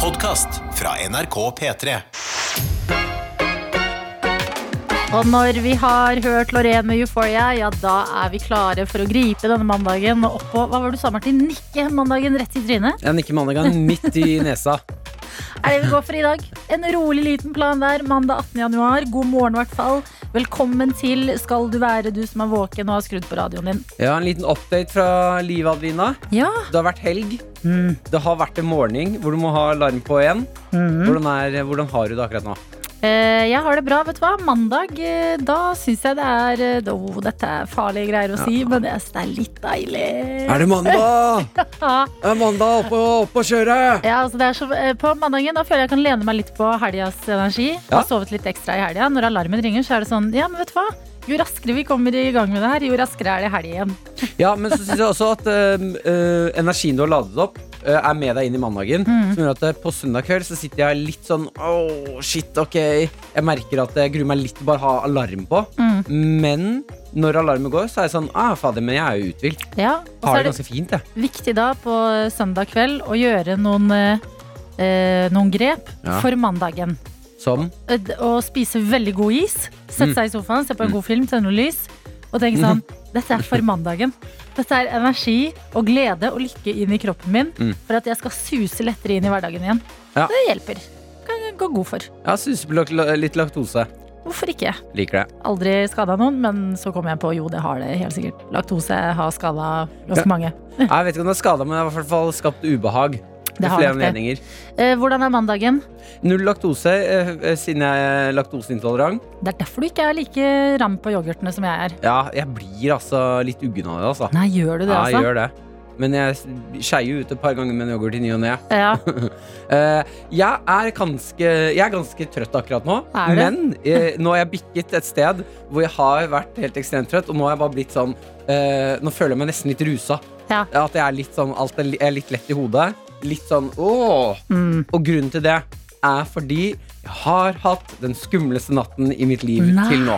Podkast fra NRK P3. Og når vi har hørt Lorraine med Euphoria, ja da er vi klare for å gripe denne mandagen og oppå Hva var du sa, Martin? Nikke mandagen rett i trynet? Jeg nikker mandagen midt i nesa. Er det vi går for i dag? En rolig liten plan der, mandag 18. januar. God morgen, i hvert fall. Velkommen til Skal du være du som er våken og har skrudd på radioen din. Jeg har en liten update fra livet, Adelina. Ja. Det har vært helg. Det har vært en morgen hvor du må ha alarm på igjen. Mm. Hvordan, er, hvordan har du det akkurat nå? Eh, Jeg har det bra, vet du hva. Mandag, eh, da syns jeg det er eh, Å, dette er farlige greier å si, men jeg synes det er litt deilig. det mandag? Ja. Er mandag oppe opp og kjøre? Ja, altså det er så, eh, På mandagen da føler jeg jeg kan lene meg litt på helgas energi. Ja. Har sovet litt ekstra i helga. Når alarmen ringer, så er det sånn Ja, men vet du hva? Jo raskere vi kommer i gang med det her, jo raskere er det helg igjen. Ja, men så syns jeg også at øhm, øh, energien du har ladet opp, øh, er med deg inn i mandagen. Som gjør at øh, på søndag kveld så sitter jeg litt sånn Åh, shit, ok. Jeg merker at jeg gruer meg litt til bare å ha alarm på. Men når alarmen går, så er jeg sånn ah, fader, men jeg er jo uthvilt. Ja, og så Har er det det ganske fint, jeg. viktig da på eh, søndag kveld å gjøre noen, eh, eh, noen grep Ja. for mandagen. Som Eh, d- Å spise veldig god is, sette Mm. seg i sofaen, se på en god film, tenne noe lys og tenke sånn Dette er for mandagen. Dette er energi og glede og lykke inn i kroppen min Mm. for at jeg skal suse lettere inn i hverdagen igjen. Ja. Det hjelper. Kan jeg gå god for. Ja, suseblokk, litt laktose. Hvorfor ikke? Liker det. Aldri skada noen, men så kom jeg på jo, det har det helt sikkert. Laktose har skada ganske Ja. mange. Jeg vet ikke om det er skada, men det har i hvert fall skapt ubehag. Mm. Det Det har flere nok det. anledninger. Eh, hvordan er mandagen? Null laktose øh, øh, siden jeg er laktoseintolerant. Det er derfor du ikke er like ram på yoghurtene som jeg er. Ja, jeg blir altså litt uggen av det, altså. Nei, gjør du det, Ja, jeg altså? gjør det. Men jeg skeier jo ut et par ganger med en yoghurt i ny og ne. Ja, Eh, jeg, er ganske, jeg er ganske trøtt akkurat nå, Er du? men eh, nå har jeg bikket et sted hvor jeg har vært helt ekstremt trøtt, og nå har jeg bare blitt sånn eh, Nå føler jeg meg nesten litt rusa. Ja. At jeg er litt sånn Alt er, li- jeg er litt lett i hodet. Litt sånn åh. Mm. Og grunnen til det er fordi jeg har hatt den skumleste natten i mitt liv Nei. til nå.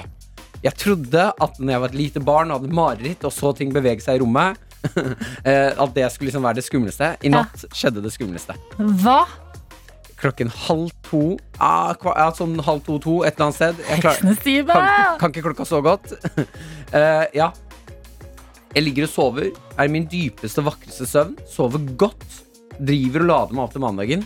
Jeg trodde at når jeg var et lite barn og hadde mareritt og så ting bevege seg i rommet, eh, at det skulle liksom være det skumleste. I Ja. natt skjedde det skumleste. Hva? Klokken halv to ah, kva, ja, Sånn halv to-to et eller annet sted. Jeg klarer- Heksene sier kan, meg! kan ikke klokka så godt. Eh, ja. Jeg ligger og sover. Er i min dypeste, vakreste søvn. Sover godt. Driver og lader meg opp til mandagen.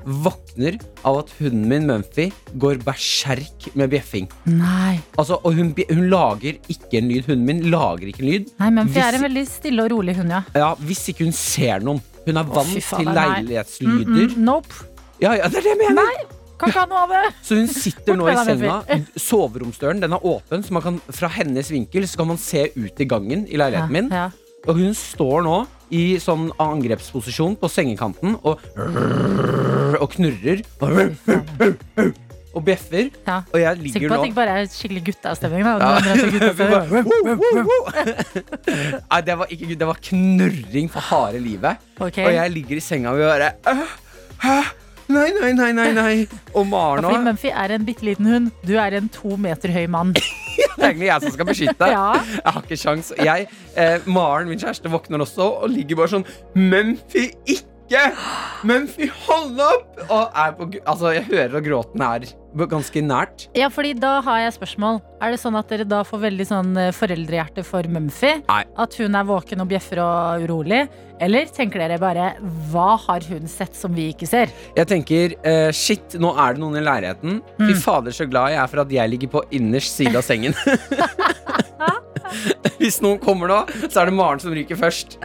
Våkner av at hunden min, Mumphy, går berserk med bjeffing. Nei. Altså, og hun, bje- hun lager ikke en lyd. Hunden min lager ikke en lyd. Nei, men for jeg er en Hvis- veldig stille og rolig hund, ja. Ja, Hvis ikke hun ser noen. Hun er vant fy faen, til nei. leilighetslyder. Mm, nope. Ja, ja, det er det jeg mener! Kan ikke ha noe av det. Så hun sitter nå i Bort med deg, senga. Soveromsdøren den er åpen, så man kan, fra hennes vinkel så kan man se ut i gangen i leiligheten min. Ja, Og hun står nå i sånn angrepsposisjon på sengekanten og, og knurrer og bjeffer. ja. Og jeg Sikker ligger på nå at det ikke bare er skikkelig gutteavstemning. da. Ja. Det er så gutteavstemning. Nei, det var ikke gud, det var knurring for harde livet. Ok. Og jeg ligger i senga og bare «Æ? Hæ? Nei, nei, nei, nei, nei. Og Maren Fordi nå Mumphy er en bitte liten hund. Du er en to meter høy mann. Det er egentlig jeg som skal beskytte deg. Ja. Jeg har ikke sjans. Jeg, eh, Maren, min kjæreste, våkner også og ligger bare sånn Mumphy, ikke! Mumphy, hold opp! Og er på, gr- altså, jeg hører at gråten er b- ganske nært. Ja, fordi da har jeg spørsmål. Er det sånn at dere da får veldig sånn eh, foreldrehjerte for Mumphy? Nei. At hun er våken og bjeffer og urolig? Eller tenker dere bare hva har hun sett som vi ikke ser? Jeg tenker eh, shit, nå er det noen i leiligheten. Fy fader, så glad jeg er for at jeg ligger på innerst side av sengen. Hvis noen kommer nå, så er det Maren som ryker først.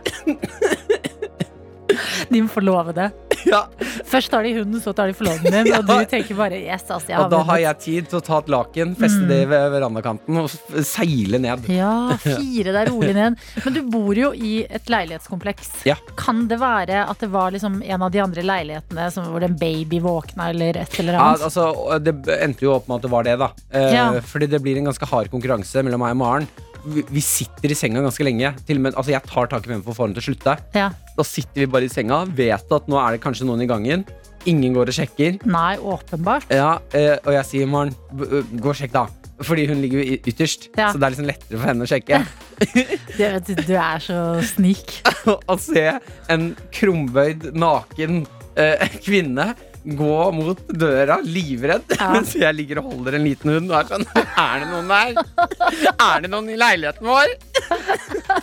De må forlove det. Ja, Først tar de hunden, så tar de forloveden din. Og du tenker bare yes, altså, jeg har Og da har vunnet. jeg tid til å ta et laken, feste det ved verandakanten og f- seile ned. Ja, fire deg rolig ned. Men du bor jo i et leilighetskompleks. Ja. Kan det være at det var liksom en av de andre leilighetene som, hvor en baby våkna, eller et eller Ja, annet? altså, det endte jo opp med at det var det, da. Eh, Ja. Fordi det blir en ganske hard konkurranse mellom meg og Maren. Vi, vi sitter i senga ganske lenge. Til og med, altså, jeg tar tak i hvem for å få henne til å slutte. Ja. Da sitter vi bare i senga, vet at nå er det kanskje noen i gangen. Ingen går og sjekker. Nei, åpenbart. Ja, eh, og jeg sier Maren, b- ø, gå og sjekk, da. Fordi hun ligger jo i- ytterst, Ja. så det er liksom lettere for henne å sjekke. Du, du er så snik. å se en krumbøyd, naken eh, kvinne gå mot døra, livredd, Ja. mens jeg ligger og holder en liten hund og er sånn Er det noen der? Er det noen i leiligheten vår?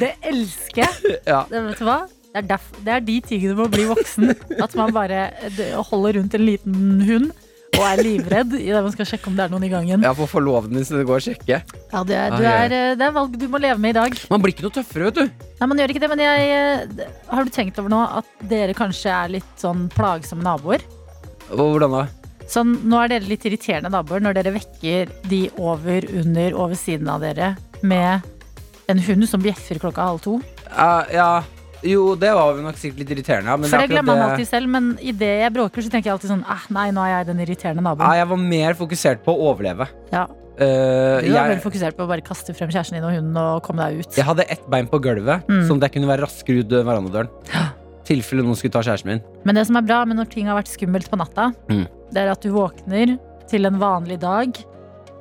Det elsker jeg. Ja. Det, vet du hva? Det er, derf, det er de tingene med å bli voksen. At man bare d- holder rundt en liten hund og er livredd idet man skal sjekke om det er noen i gangen. Jeg får forloveden min, så det går og sjekke. Ja, det, er, du Ai, ai. er, eh, det er valg du må leve med i dag. Man blir ikke noe tøffere, vet du. Nei, man gjør ikke det, men jeg, eh, d- har du tenkt over nå at dere kanskje er litt sånn plagsomme naboer? Og Hvordan da? Sånn, nå er dere litt irriterende naboer når dere vekker de over, under, over siden av dere med en hund som bjeffer klokka halv to. Eh, ja. Jo, det var jo nok sikkert litt irriterende. Ja, men For det akkurat glemmer man alltid selv, men idet jeg bråker, så tenker jeg alltid sånn eh, Nei, nå er jeg den irriterende Nei, naboen. jeg var mer fokusert på å overleve. Ja, Eh, du jeg, er veldig fokusert på å bare kaste frem kjæresten din og hunden og komme deg ut. jeg hadde ett bein på gulvet, Mm. som det kunne være raskere ut verandadøren. Tilfelle noen skulle ta kjæresten min. Men det som er bra med når ting har vært skummelt på natta, Mm. det er at du våkner til en vanlig dag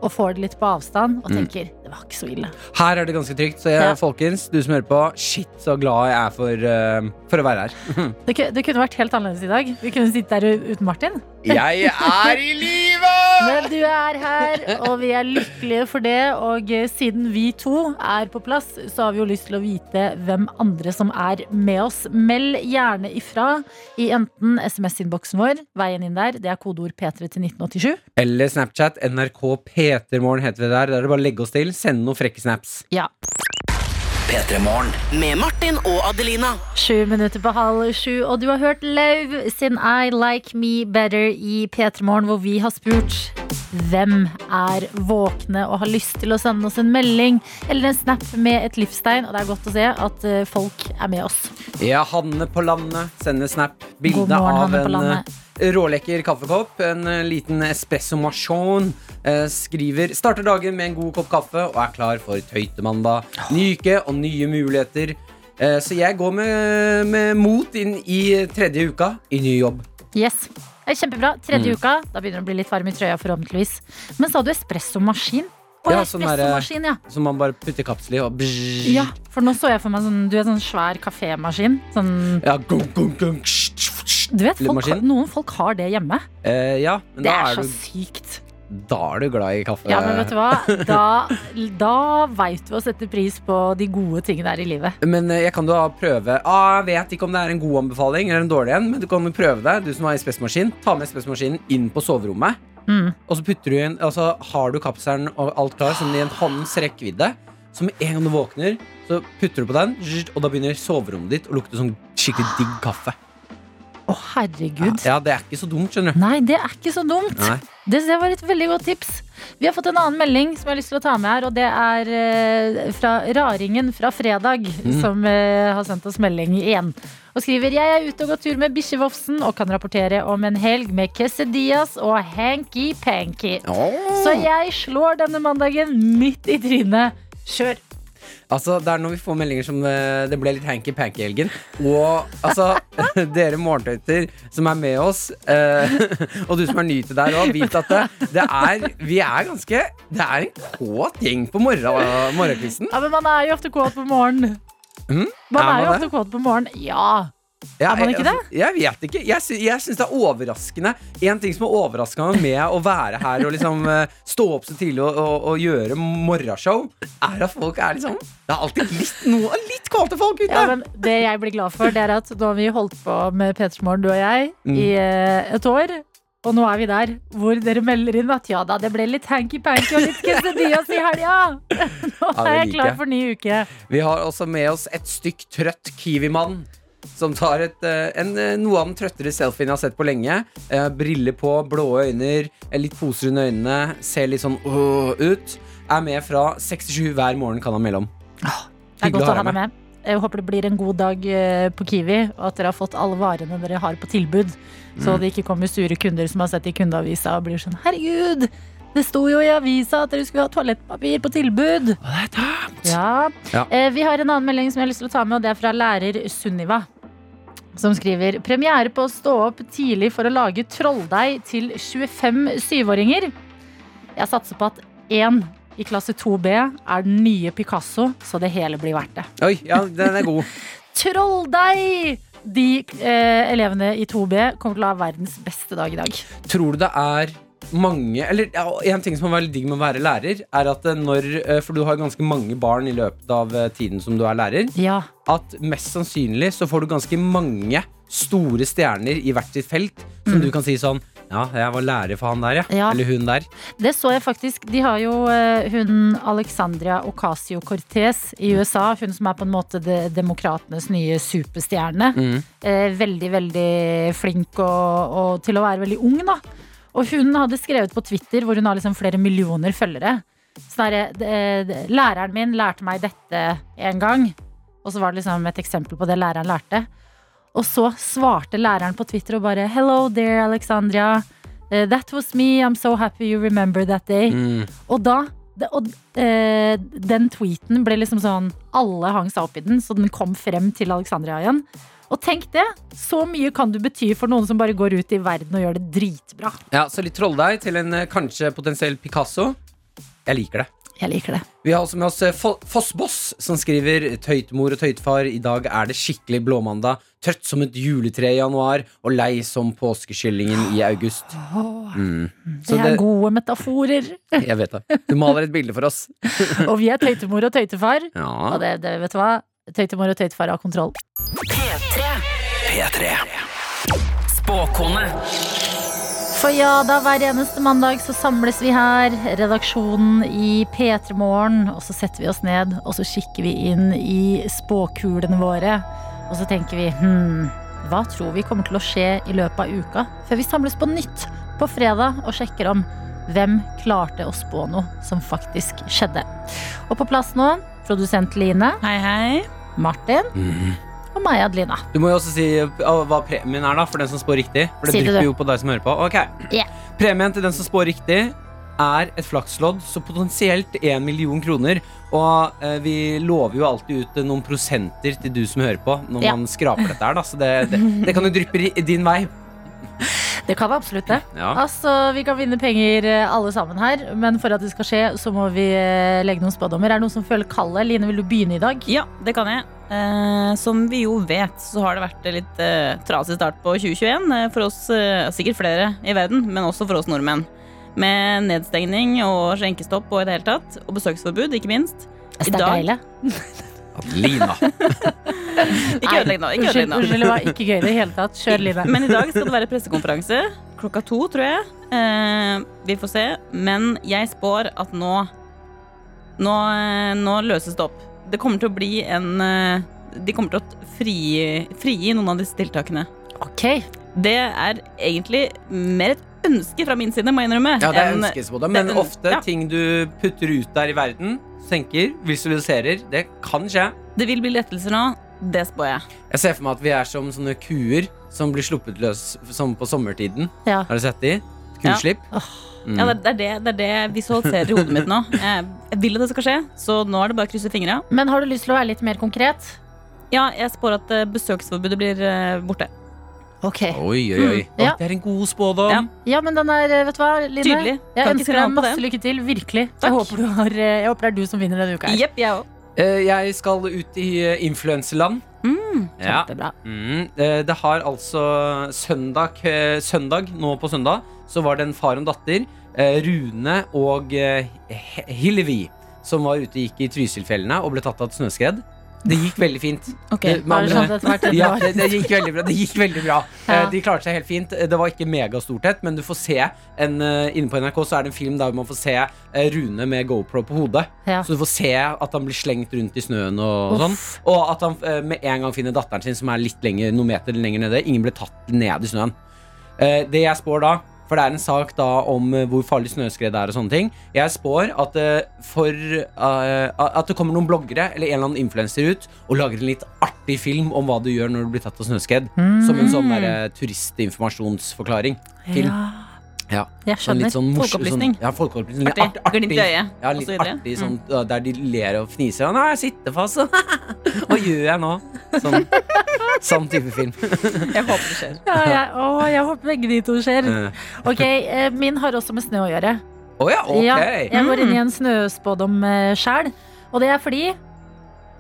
og får det litt på avstand og Mm. tenker det var ikke så ille. Her er det ganske trygt. Så jeg, Ja. folkens, du som hører på, shit så glad jeg er for, eh, for å være her. Det, ku- det kunne vært helt annerledes i dag. Vi kunne sitte der u- uten Martin. Jeg er i live! Men du er her, og vi er lykkelige for det. Og eh, siden vi to er på plass, så har vi jo lyst til å vite hvem andre som er med oss. Meld gjerne ifra i enten SMS-innboksen vår, veien inn der, det er kodeord P3 til 1987. Eller Snapchat. NRK Petermorgen heter vi der. Der er det bare å legge oss til. Send noen frekke snaps. Ja. Med Martin og Adelina. Sju minutter på halv sju, og du har hørt Lauv sin I Like Me Better i P3 Morgen, hvor vi har spurt hvem er våkne og har lyst til å sende oss en melding eller en snap med et livstegn. Og det er godt å se at eh, folk er med oss. Ja, Hanne på landet sender snap. Bilde God morgen, av Hanne på en landet. eh, rålekker kaffekopp. En eh, liten espresso machon. Eh, skriver starter dagen med en god kopp kaffe og er klar for tøytemandag. Ny uke og nye muligheter. Eh, så jeg går med, med mot inn i tredje uka i ny jobb. Yes. Det er kjempebra. Tredje Mm. uka. Da begynner det å bli litt varm i trøya, forhåpentligvis. Men sa du espressomaskin? Å, Ja, ja, sånn derre- espressomaskin, ja. Som man bare putter i kapsel i og bzzz. ja. For nå så jeg for meg sånn Du er sånn svær kafémaskin. Sånn Ja, gung, gung, gung, sh, sh, sh. Du vet, folk, Lillemaskin? noen folk har det hjemme. Eh, ja, men Det da er er, så du, sykt. da er du glad i kaffe. Ja, men vet du Eh. hva? Da, da veit vi å sette pris på de gode tingene her i livet. Men eh, jeg kan jo da prøve ah, Jeg vet ikke om det er en god anbefaling eller en dårlig en, men du kan jo prøve det. Du som har espressomaskin, ta med espressomaskinen inn på soverommet. Mm. Og så putter du inn, altså har du kapselen og alt klar sånn i en hånds rekkevidde. Så med en gang du våkner, så putter du på den, zzzt, og da begynner soverommet ditt å lukte sånn skikkelig digg kaffe. Å, herregud. Ja, det er ikke så dumt, skjønner du. Nei, det er ikke så dumt. Nei. Det synes jeg var et veldig godt tips. Vi har fått en annen melding som jeg har lyst til å ta med her, og det er eh, fra Raringen fra fredag, Mm. som eh, har sendt oss melding igjen. Og skriver Jeg er ute og går tur med bikkjevofsen og kan rapportere om en helg med quesadillas og hanky-panky. Så jeg slår denne mandagen midt i trynet. Kjør! Altså, Det er når vi får meldinger som eh, det ble litt hanky-panky i helgen. Og altså, dere morgentøyter som er med oss, eh, og du som er ny til der òg, vit at det, det er Vi er ganske Det er en kåt gjeng på morgen, eh, morgenkvisten. Ja, men man er jo ofte kåt på morgenen. Mm, Man er er, jo man ofte kåt på morgenen. Ja. Ja, Er man ikke jeg- altså, Jeg vet ikke. Jeg, sy jeg syns det er overraskende. En ting som er overraskende med å være her og liksom eh, stå opp så tidlig og, og, og gjøre morgenshow, er at folk er liksom Det er alltid litt noe litt kåte folk ute. ja, men det jeg blir glad for, det er at nå har vi holdt på med Petersmorgen, du og jeg, Mm. i eh, et år. Og nå er vi der hvor dere melder inn at ja da, det ble litt hanky-panky og litt quesadillas i helga. Nå Ja, det er jeg liker klar jeg. for ny uke. Vi har også med oss et stykk trøtt Kiwi-mann. Som tar et, eh, en, eh, noe av den trøttere selfien jeg har sett på lenge. Eh, briller på, blå øyne, eh, litt poser under øynene, ser litt sånn åh ut. Er med fra 67 hver morgen kan han melde om. Det er Hyggelig godt å å ha ha deg deg med. Jeg håper det blir en god dag eh, på Kiwi, og at dere har fått alle varene dere har på tilbud. Så Mm. det ikke kommer sure kunder som har sett i kundeavisa og blir sånn herregud, det sto jo i avisa at dere skulle ha toalettpapir på tilbud. Ja. Ja. Eh, vi har en annen melding som jeg har lyst til å ta med, og det er fra lærer Sunniva. Som skriver premiere på å stå opp tidlig for å lage trolldeig til 25 syvåringer. Jeg satser på at én i klasse 2B er den nye Picasso, så det hele blir verdt det. Oi, ja, den er god. Trolldeig! de eh, elevene i 2B kommer til å ha verdens beste dag i dag. Tror du det er mange Eller ja, en ting som er veldig digg med å være lærer, er at eh, når eh, For du har ganske mange barn i løpet av eh, tiden som du er lærer. Ja. At mest sannsynlig så får du ganske mange store stjerner i hvert sitt felt som du kan si sånn Ja, jeg var lærer for han der, ja. Mm. Ja. Eller hun der. Det så jeg faktisk. De har jo eh, hun Alexandria Ocasio-Cortez i USA. Hun som er på en måte de, demokratenes nye superstjerne. Eh, veldig, veldig flink og, og til å være veldig ung, da. Og hun hadde skrevet på Twitter, hvor hun har liksom flere millioner følgere Sånn herre Læreren min lærte meg dette en gang. Og så var det liksom et eksempel på det læreren lærte. Og så svarte læreren på Twitter og bare Hello dear Alexandria. Eh, that was me. I'm so happy you remember that day. Mm. Og da det, og, eh, Den tweeten ble liksom sånn Alle hang seg opp i den, så den kom frem til Alexandria igjen. Og tenk det! Så mye kan du bety for noen som bare går ut i verden og gjør det dritbra. Ja, Så litt trolldeig til en eh, kanskje potensiell Picasso. Jeg liker det. Jeg liker det. Vi har også med oss eh, Fo- Fossboss, som skriver Tøytmor og tøytfar, i dag er det skikkelig blåmandag. Trøtt som et juletre i januar, og lei som påskekyllingen i august. Mm. Det Så er det, gode metaforer. jeg vet det. Du maler et bilde for oss. Og vi er tøytemor og tøytefar. Og Ja. det, det vet du hva? Tøytemor og tøytefar har kontroll. P3 Spåkone For ja da, hver eneste mandag så samles vi her, redaksjonen i P3 Morgen, og så setter vi oss ned, og så kikker vi inn i spåkulene våre. Og så tenker vi hm, hva tror vi kommer til å skje i løpet av uka? Før vi samles på nytt på fredag og sjekker om hvem klarte å spå noe som faktisk skjedde. Og på plass nå, produsent Line, Hei, hei. Martin Mm. og meg, Adelina. Du må jo også si eh, hva premien er, da, for den som spår riktig. For Si det det, drypper du. jo på deg som hører på. Ok. Ja. Premien til den som spår riktig, er et flakslodd, så potensielt én million kroner. Og eh, vi lover jo alltid ut eh, noen prosenter til du som hører på, når Ja. man skraper dette her, da. Så det, det, det kan jo dryppe ri- din vei. Det kan vi absolutt det. Ja. Altså, Vi kan vinne penger eh, alle sammen her, men for at det skal skje, så må vi eh, legge noen spådommer. Er det noen som føler kallet? Line, vil du begynne i dag? Ja, det kan jeg. Eh, som vi jo vet, så har det vært en litt eh, trasig start på 2021 eh, for oss, eh, sikkert flere i verden, men også for oss nordmenn. Med nedstengning og skjenkestopp og i det hele tatt, og besøksforbud, ikke minst. Altså, det er dag? deilig. Lina. Ikke ødelegg nå. ikke ødelegg Unnskyld, nå. unnskyld, det var ikke gøy i det hele tatt. Kjør, Line. Men i dag skal det være pressekonferanse klokka to, tror jeg. Eh, vi får se. Men jeg spår at nå nå, eh, nå løses det opp. Det kommer til å bli en eh, De kommer til å frigi frigi noen av disse tiltakene. Ok, Det er egentlig mer et ønske fra min side, må jeg innrømme. Ja, det er enn- ønskes på det, men det- ofte ja. ting du putter ut der i verden, tenker, visualiserer, det kan skje. det vil bli lettelser nå. Det spår jeg. Jeg ser for meg at vi er som sånne kuer som blir sluppet løs som på sommertiden. ja. Har du sett de? Kuslipp. Mm. Ja, det, er- det, er det, det er det jeg visualiserer i hodet mitt nå. Jeg, jeg vil at det skal skje, så nå er det bare å krysse fingra. Men har du lyst til å være litt mer konkret? Ja, jeg spår at eh, besøksforbudet blir eh, borte. Ok. Oi, oi, oi. Mm, ja. Å, Det er en god spådom. Ja. Ja, men den er, eh, vet du hva, Line? Tydelig. Jeg Kan ikke si ønsker noe deg annet på masse det. lykke til. Virkelig. Takk. Jeg håper, du har, eh, jeg håper det er du som vinner denne uka. her. Jepp, jeg òg. Eh, Jeg skal ut i eh, influenseland. ja. Kjempebra. Mm, eh, det har altså søndag, eh, søndag Nå på søndag Så var det en far og en datter eh, Rune og eh, He- Hillevi Som var ute og gikk i Trysilfjellene Og ble tatt av et snøskred Det gikk veldig fint Ok, Har du med andre sånn ord- etter hvert? Det ja, var- det, det gikk veldig bra, det gikk veldig bra. Ja. Eh, De klarte seg helt fint Det var ikke megastorthet, men du får se en, eh, Inne på NRK så er det en film der man får se eh, Rune med GoPro på hodet Ja. Så du får se at han blir slengt rundt i snøen Og, og sånn Uff. og at han eh, med en gang finner datteren sin Som er litt lenger, noen meter lenger nede Ingen ble tatt ned i snøen Eh, Det jeg spår da For det er en sak da om eh, hvor farlig snøskred er og sånne ting Jeg spår at, eh, for, eh, at det kommer noen bloggere Eller en eller annen influencer ut Og lager en litt artig film om hva du gjør når du blir tatt av snøskred Som en sånn der, eh, turistinformasjonsforklaring Film Ja. Ja. Jeg Sånn skjønner. litt sånn morsom- Folkeopplysning. Sånn, ja, folkeopplysning. Litt Artig. art- Glimt i øyet, Ja, og litt så videre. artig, sånn, Mm. uh, der de ler og fniser. og, Nei, jeg sitter fast. og Hva gjør jeg nå? Sånn, sånn type film. Jeg håper det skjer. Ja, jeg, å, jeg håper begge de to skjer. Eh, Ok, eh, Min har også med snø å gjøre. Å ja, Ja, ok. Mm. eh, jeg går inn i en snøspådom sjæl. Og det er fordi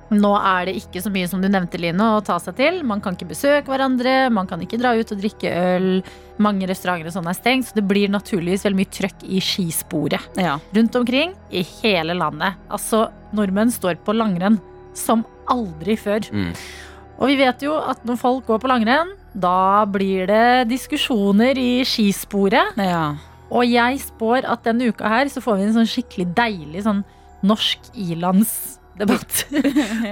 Nå er det ikke så mye som du nevnte, Line, å ta seg til. Man kan ikke besøke hverandre, man kan ikke dra ut og drikke øl. Mange restauranter og sånn er stengt, så det blir naturligvis veldig mye trøkk i skisporet. Mm. Ja. Rundt omkring i hele landet. Altså, nordmenn står på langrenn som aldri før. Mm. Og vi vet jo at når folk går på langrenn, da blir det diskusjoner i skisporet. ja. Og jeg spår at denne uka her så får vi en sånn skikkelig deilig sånn norsk ilandsdebatt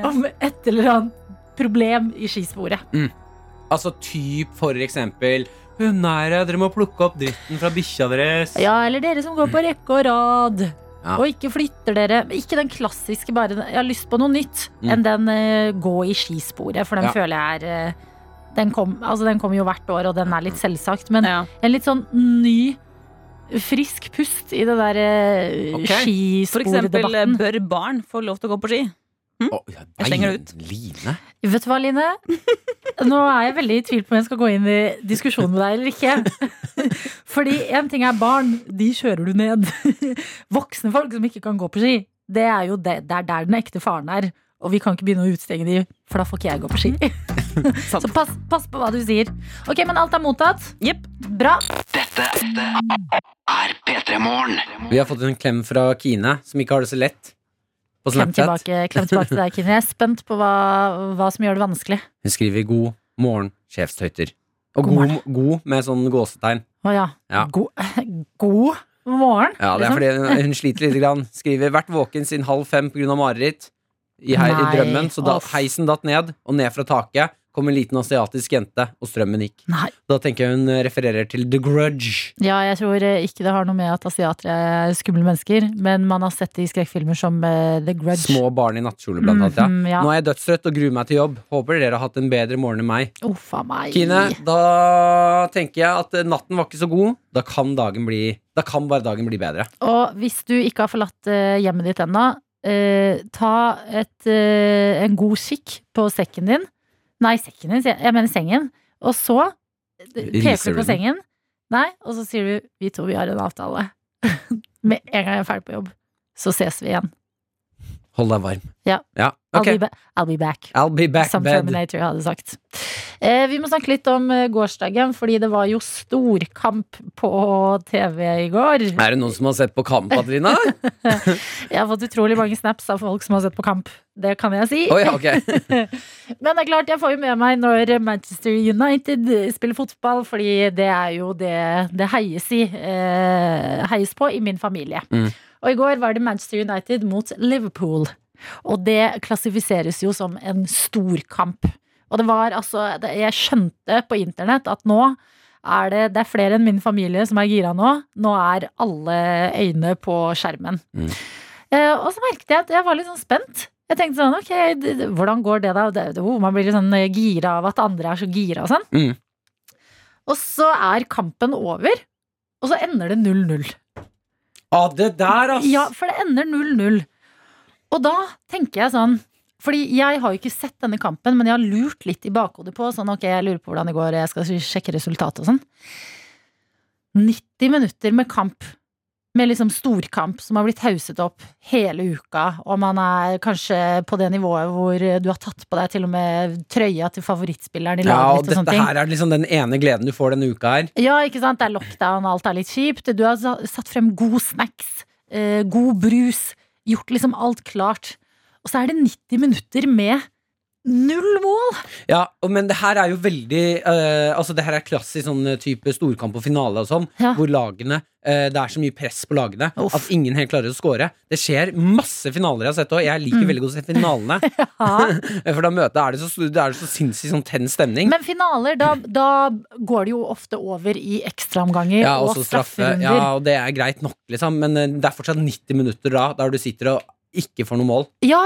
om et eller annet problem i skisporet. Altså typ for eksempel Hundeeiere, dere må plukke opp dritten fra bikkja deres. Ja, eller dere som går på rekke og rad. Ja. Og ikke flytter dere. Ikke den klassiske bare Jeg har lyst på noe nytt Mm. enn den eh, gå i skisporet, for den Ja. føler jeg er eh, den, kom, altså, den kommer jo hvert år, og den er litt selvsagt. Men ja. en litt sånn ny, frisk pust i det der eh, Ok. For eksempel, eh, skispordebatten. bør barn få lov til å gå på ski? Å, ja, Jeg slenger det nei, Line. Vet du hva, Line? Nå er jeg veldig i tvil på om jeg skal gå inn i diskusjonen med deg eller ikke. Fordi én ting er barn, de kjører du ned. Voksne folk som ikke kan gå på ski, det er jo det, det er der den ekte faren er. Og vi kan ikke begynne å utstenge de, for da får ikke jeg gå på ski. Så pass, pass på hva du sier. Ok, men alt er mottatt. Jepp. Bra. Vi har fått en klem fra Kine, som ikke har det så lett. På Klem Snapchat. tilbake, klem tilbake til deg, Kine. Jeg er spent på hva, hva som gjør det vanskelig. Hun skriver 'God morgen, sjefstøyter'. Og God god, god med sånn gåsetegn. Å ja. Ja. God, god morgen. Ja, det er liksom. fordi hun- hun sliter litt. Grann. Skriver 'vært våken siden halv fem pga. mareritt' i, her, i Nei, drømmen. Så da uff. heisen datt ned, og ned fra taket kom en liten asiatisk jente, og strømmen gikk. Nei. Da tenker jeg hun eh, refererer til The Grudge. Ja, jeg tror eh, ikke det har noe med at asiater er skumle mennesker, men man har sett det i skrekkfilmer som eh, The Grudge. Små barn i nattkjole, blant annet. Ja. Mhm, ja. Nå er jeg dødstrøtt og gruer meg til jobb. Håper dere har hatt en bedre morgen enn meg. Uff a meg. Kine, da tenker jeg at eh, natten var ikke så god. Da kan dagen bli Da kan bare dagen bli bedre. Og hvis du ikke har forlatt eh, hjemmet ditt ennå, eh, ta et, eh, en god kikk på sekken din. Nei, sekken din, sier jeg. jeg mener sengen. Og så eh, Riser peker du du den? på sengen, nei, og så sier du 'vi to, vi har en avtale'. Med en gang jeg er ferdig på jobb, så ses vi igjen. Hold deg varm. Ja. ja. I'll, Ok. be, ba I'll be back. I'll be back, Som bed. Terminator hadde sagt. Eh, vi må snakke litt om eh, gårsdagen, fordi det var jo storkamp på TV i går. Er det noen som har sett på Kamp, Adelina? Jeg har fått utrolig mange snaps av folk som har sett på kamp. Det kan jeg si. Å ja, ok. Men det er klart, jeg får jo med meg når Manchester United spiller fotball, fordi det er jo det det heies i. Eh, heies på i min familie. Mm. Og i går var det Manchester United mot Liverpool. Og det klassifiseres jo som en storkamp. Og det var altså det- Jeg skjønte på internett at nå er det, det er flere enn min familie som er gira nå. Nå er alle øyne på skjermen. Mm. Eh, og så merket jeg at jeg var litt sånn spent. Jeg tenkte sånn, ok, d- d- hvordan går det da? Det, det, oh, man blir litt sånn eh, gira av at andre er så gira og sånn. Mm. Og så er kampen over, og så ender det 0-0. Ah, det der, ass! Ja, for det ender 0-0. Og da tenker jeg sånn fordi jeg har jo ikke sett denne kampen, men jeg har lurt litt i bakhodet på sånn, ok, jeg lurer på hvordan det går, jeg skal sjekke resultatet og sånn. 90 minutter med kamp, med liksom storkamp som har blitt hauset opp hele uka, og man er kanskje på det nivået hvor du har tatt på deg til og med trøya til favorittspilleren i Ja, laget og ditt og sånne dette ting. her er liksom den ene gleden du får denne uka her. Ja, ikke sant? Det er lockdown, alt er litt kjipt. Du har sa- satt frem god snacks, eh, god brus, gjort liksom alt klart. Og så er det 90 minutter med null mål! Ja, og, Men det her er jo veldig eh, Altså det her er klassisk sånn eh, type storkamp og finale og sånn, Ja. hvor lagene eh, Det er så mye press på lagene Uff. at ingen helt klarer å score. Det skjer masse finaler jeg har sett òg. Jeg Mm. liker veldig godt å se finalene. Ja. For da møtet er det så, det er så sinnssykt sånn tenn stemning. Men finaler, da, da går det jo ofte over i ekstraomganger ja, og og så straffe. strafferunder. Ja, og det er greit nok, liksom, men eh, det er fortsatt 90 minutter da, der du sitter og ikke får noe mål. Ja,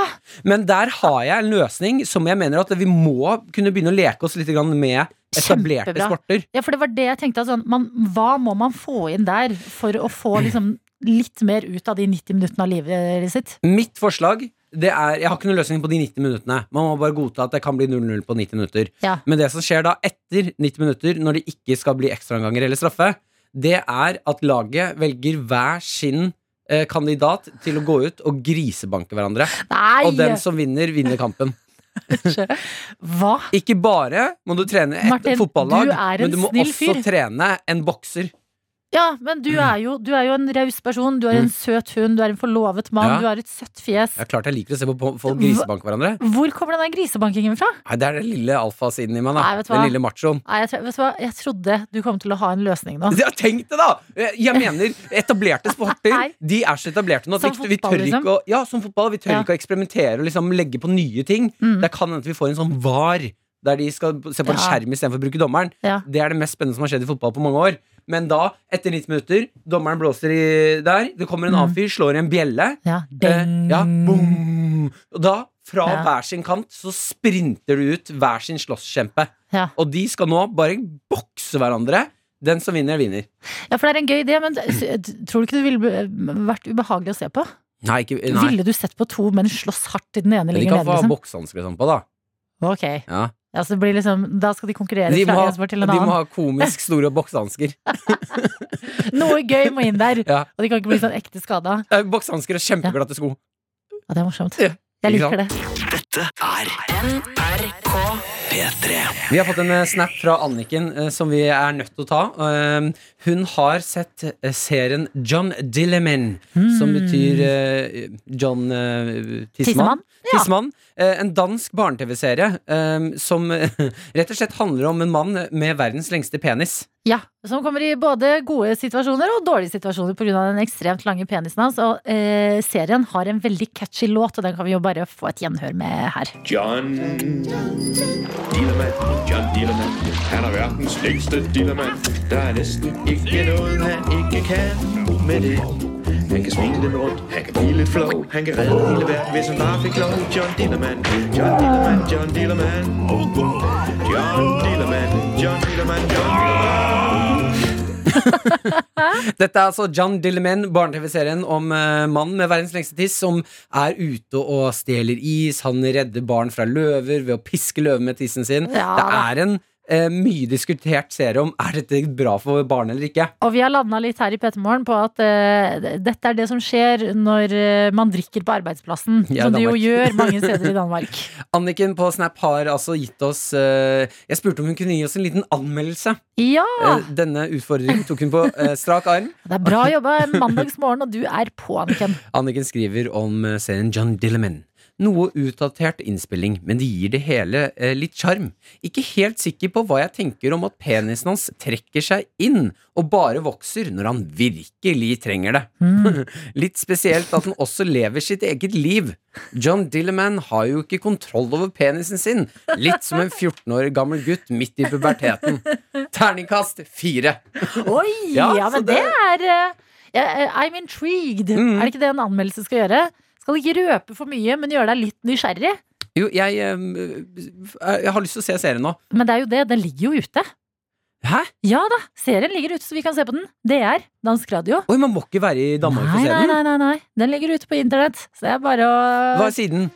Men der har jeg en løsning som jeg mener at vi må kunne begynne å leke oss litt grann med etablerte Kjempebra. sporter. ja, for det var det jeg tenkte. at Sånn, man, hva må man få inn der for å få liksom litt mer ut av de 90 minuttene av livet sitt? Mitt forslag det er, Jeg har ikke noen løsning på de 90 minuttene. Man må bare godta at det kan bli 0-0 på 90 minutter. Ja. Men det som skjer da etter 90 minutter, når det ikke skal bli ekstraomganger eller straffe, det er at laget velger hver sin eh, kandidat til å gå ut og grisebanke hverandre. Nei! Og den som vinner, vinner kampen. Hva? Ikke bare må du trene et Martin, fotballag, du er en men du må snill også fyr. trene en bokser. Ja, men du er jo, du er jo en raus person. Du er en søt hund, du er en forlovet mann, Mm. Ja. du har et søtt fjes. Det er klart jeg liker å se på folk grisebanke hverandre. Hvor kommer den der grisebankingen fra? Nei, Det er den lille alfasiden i meg. Nei, da vet du hva? Den lille machoen. Nei, jeg, tro- vet du hva? jeg trodde du kom til å ha en løsning nå. Ja, tenk det, da! Eh, Jeg mener, etablerte sporter Nei. De er så etablerte nå at Som vi, vi fotball, tør liksom. ikke å Ja, som fotball. Vi tør Ja. ikke å eksperimentere og liksom legge på nye ting. Mm. Det kan hende at vi får en sånn var, der de skal se på en Ja. skjerm istedenfor å bruke dommeren. Ja. Det er det mest spennende som har skjedd i fotball på mange år. Men da, etter 90 minutter, dommeren blåser i der, det kommer en Mm. annen fyr, slår i en bjelle. Ja, Eh, ding. ja, boom. Og da, fra Ja. hver sin kant, så sprinter du ut hver sin slåsskjempe. Ja. Og de skal nå bare bokse hverandre. Den som vinner, vinner. ja, for det er en gøy idé, men s- tror du ikke det ville be- vært ubehagelig å se på? Nei, ikke, nei. Ville du sett på to menn slåss hardt i den ene De ligger kan nede, få ha liksom? boksehansker og sånn på, da. Ok, Ja. ja, så det blir liksom, da skal de konkurrere De, må fra en ha, sport til en de må annen. ha komisk store boksehansker. Noe gøy må inn der, Ja. og de kan ikke bli sånn ekte skada. Eh, Boksehansker og kjempeglatte sko. Ja, det er morsomt. Ja, Jeg ikke liker det. Vi har fått en eh, snap fra Anniken eh, som vi er nødt til å ta. Eh, Hun har sett eh, serien John Dilleman, som betyr eh, John eh, Tissemann. Hmm. Tissemann, ja. Tissemann. Eh, En dansk barne-TV-serie eh, som eh, rett og slett handler om en mann med verdens lengste penis. Ja, Som kommer i både gode situasjoner og dårlige situasjoner pga. den ekstremt lange penisen hans. Og eh, serien har en veldig catchy låt, og den kan vi jo bare få et gjenhør med her. John Dillermand, John Dillermand. Han er verdens længste dillermand. Der er næsten ikke noget, han ikke kan med det. Han kan svinge den rundt, han kan blive lidt flov, han kan redde hele verden, hvis han bare fik lov. John Dillermand, John Dillermand, John Dillermand. John Dillermand, John Dillermand, John Dillermand. Dette er altså John Dilleman, barne-TV-serien om eh, mannen med verdens lengste tiss som er ute og stjeler is. Han redder barn fra løver ved å piske løven med tissen sin. Ja, det da. er en eh, mye diskutert serie om er dette bra for barn eller ikke. Og vi har landa litt her i Petermorgen på at eh, dette er det som skjer når eh, man drikker på arbeidsplassen. Ja, som det jo Danmark. gjør mange steder i Danmark. Anniken på Snap har altså gitt oss eh, Jeg spurte om hun kunne gi oss en liten anmeldelse. Ja! Eh, denne utfordringen tok hun på eh, strak arm. Det er bra jobba en mandagsmorgen, og du er på, Anniken. Anniken skriver om eh, serien John Dilleman. Noe utdatert innspilling, men det gir det hele eh, litt sjarm. Ikke helt sikker på hva jeg tenker om at penisen hans trekker seg inn og bare vokser når han virkelig trenger det. litt spesielt at han også lever sitt eget liv. John Dilleman har jo ikke kontroll over penisen sin, litt som en 14 år gammel gutt midt i puberteten. Terningkast fire. Oi! Ja, Ja, så men det, det- Mm. er eh, jeg- eh, I'm intrigued. Er det ikke det en anmeldelse skal gjøre? Skal ikke røpe for mye, men gjøre deg litt nysgjerrig. Jo, jeg, eh, jeg har lyst til å se serien nå. Men det er jo det. Den ligger jo ute. Hæ? Ja da, serien ligger ute, så vi kan se på den. DR, dansk radio. Oi, man må ikke være i Danmark Nei, for å se nei, den. nei, nei, nei. Den ligger ute på internett, så det er bare å Hva er siden?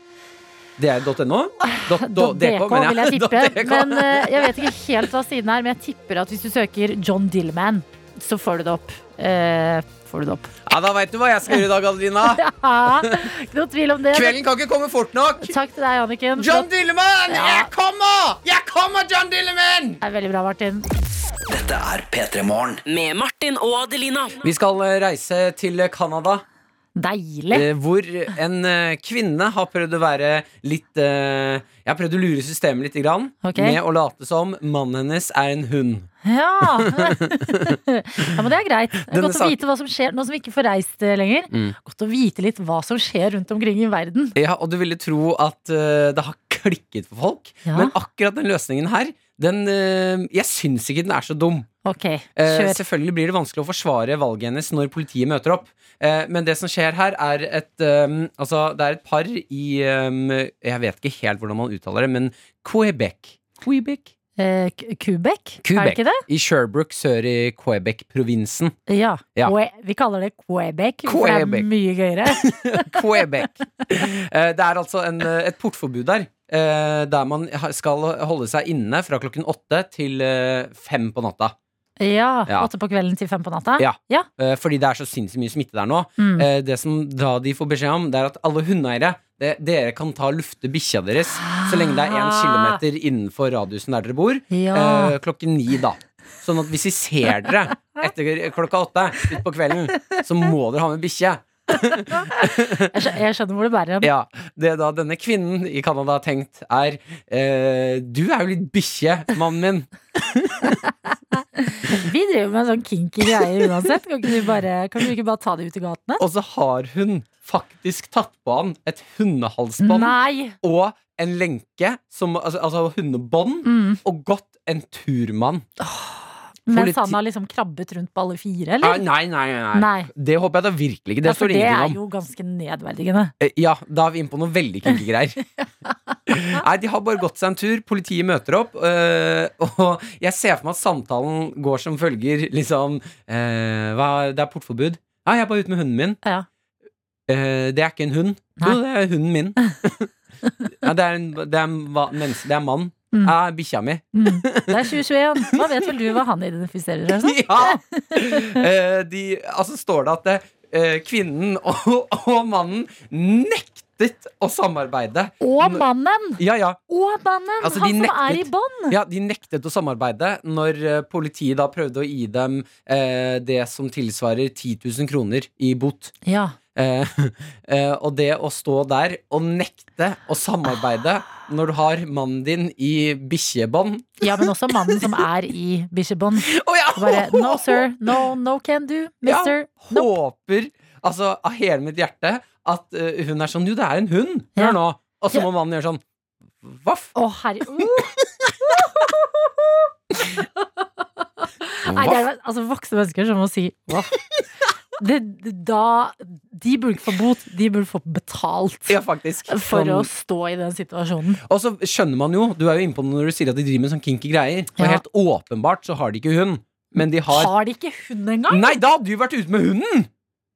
DR.no? Dot- Da- do- DK, mener Ah, vil jeg tippe. Dot DK. Men eh, jeg vet ikke helt hva siden er, men jeg tipper at hvis du søker John Dillman, så får du det opp. Eh, får du det opp. Ja, da veit du hva jeg skal gjøre i dag, Adelina. Ja, ikke noe tvil om det. Kvelden kan ikke komme fort nok. Takk til deg, Anniken. John Dilleman! Ja. Jeg kommer! Jeg kommer, John Dilleman! Det er veldig bra, Martin. Dette er P3 Morgen. Med Martin og Adelina. Vi skal eh, reise til Canada, Deilig. eh, hvor en eh, kvinne har prøvd å være litt eh, Jeg har prøvd å lure systemet litt grann, Ok. med å late som mannen hennes er en hund. Ja. ja, men det er greit. Det er Denne Mm. godt å sak- vite hva som skjer nå som vi ikke får reist eh, lenger. Godt å vite litt hva som skjer rundt omkring i verden. Ja, og du ville tro at eh, det har klikket for folk, Ja. men akkurat den løsningen her, den eh, Jeg syns ikke den er så dum. Ok, Eh, kjør. selvfølgelig blir det vanskelig å forsvare valget hennes når politiet møter opp. Eh, men det som skjer her, er et, ehm, altså, det er et par i ehm, Jeg vet ikke helt hvordan man uttaler det, men Quebec. Quebec? Eh, K- Quebec? Er det Quebec. ikke det? I Sherbrooke sør i Quebec-provinsen. Ja. Ja. Que- Vi kaller det Quebec, for det er Quebec. mye gøyere. Quebec. Eh, det er altså en, eh, et portforbud der. eh, der man ha- skal holde seg inne fra klokken åtte til eh, fem på natta. Ja, Ja. Åtte på kvelden til fem på natta? Ja. ja. Eh, fordi det er så sinnssykt mye smitte der nå. Mm. Eh, det som da de får beskjed om, det er at alle hundeeiere det, dere kan ta og lufte bikkja deres så lenge det er én Ah. kilometer innenfor radiusen der dere bor. Ja. eh, klokken ni, da. Sånn at hvis vi ser dere etter klokka åtte utpå kvelden, så må dere ha med bikkje. Jeg, skjø- jeg skjønner hvor det bærer hen. Ja, det da denne kvinnen i Canada har tenkt, er eh, Du er jo litt bikkje, mannen min. Vi driver med sånn kinky greier uansett. Kan ikke du, bare, kan du ikke bare ta det ut i gatene? Og så har hun faktisk tatt på han et hundehalsbånd Nei! og en lenke, som, altså, altså hundebånd, Mm. og gått en turmann. Mens Politi- han har liksom krabbet rundt på alle fire, Nei, eller? nei, nei. nei. Nei. Det håper jeg da virkelig ikke. Det Ja, for står det er ingenting om. jo ganske nedverdigende. Eh, Ja, da er vi inne på noe veldig kinky greier. Nei, de har bare gått seg en tur. Politiet møter opp. eh, og jeg ser for meg at samtalen går som følger liksom eh, hva, Det er portforbud. Ja, jeg er bare ute med hunden min. Ja. Eh, det er ikke en hund. Nei. Jo, det er hunden min. ja, det er en det er, en va- menneske, det er en mann. Mm. Ja, bikkja mi. Mm. Det er 2021. Hva vet vel du hva han identifiserer seg som? Ja! Eh, de, altså står det at eh, kvinnen og, og mannen nektet å samarbeide. Og mannen! Ja, ja. Og mannen! Altså, de han som er i nektet. bånd! Ja, De nektet å samarbeide når eh, politiet da prøvde å gi dem eh, det som tilsvarer 10 000 kroner i bot. Ja. Eh, eh, og det å stå der og nekte å samarbeide når du har mannen din i bikkjebånd ja, men også mannen som er i bikkjebånd. Å ja! Og Bare no sir, no, no can do, mister. Ja, håper altså av hele mitt hjerte at eh, hun er sånn Jo, det er en hund! Ja. Hør nå! Og så Ja. må mannen gjøre sånn. Vaff! Å, herre... Uh. Nei, det er jo- altså voksne mennesker som må si hva? Det, det- da, de burde ikke få bot, de burde få betalt Ja, faktisk. for Sånn- å stå i den situasjonen. Og så skjønner man jo, du er jo inne på det når du sier at de driver med sånn kinky greier. Og Ja. helt åpenbart så har de ikke hund, men de har Mm. Har de ikke hund engang? Nei, da hadde du vært ute med hunden!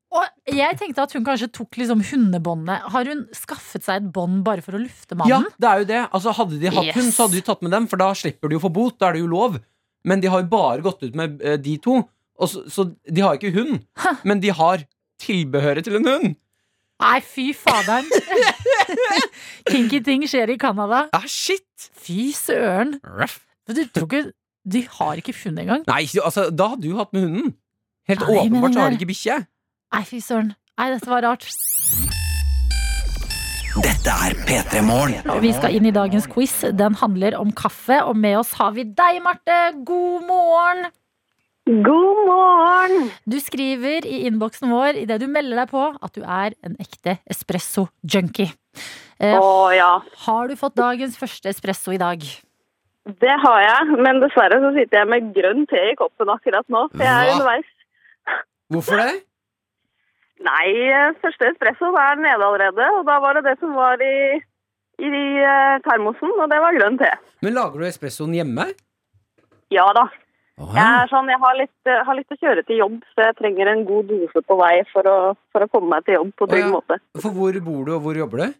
Og jeg tenkte at hun kanskje tok liksom hundebåndet. Har hun skaffet seg et bånd bare for å lufte Ja, mannen? det er jo det. Altså, hadde de hatt Yes. hund, så hadde du tatt med dem, for da slipper du jo å få bot. Da er det jo lov. Men de har jo bare gått ut med eh, de to, og så, så de har ikke hund. Men de har tilbehøret til en hund. Nei, fy faderen! Kinky ting skjer i Canada. Ja, Ah, shit! Fy søren! Ruff. Men du tror ikke De har ikke hund engang? Nei, altså, da hadde du hatt med hunden. Helt Nei, men den åpenbart så har der- de ikke bikkje. Nei, fy søren. Nei, dette var rart. Dette er P3 Morgen. Og Vi skal inn i dagens quiz. Den handler om kaffe, og med oss har vi deg, Marte. God morgen! God morgen! Du skriver i innboksen vår idet du melder deg på at du er en ekte espresso-junkie. Eh, Å ja, har du fått dagens første espresso i dag? det har jeg. Men dessverre så sitter jeg med grønn te i koppen akkurat nå. For jeg Hva? er underveis. Hvorfor det? Nei, eh, første espresso det er nede allerede. Og da var det det som var i, i eh, termosen, og det var grønn te. Men lager du espressoen hjemme? Ja da. Åh, Jeg, er sånn, jeg har, litt, eh, har lyst til å kjøre til jobb, så jeg trenger en god dose på vei for å, for å komme meg til jobb på trygg Å, ja. måte. For hvor bor du, og hvor jobber du?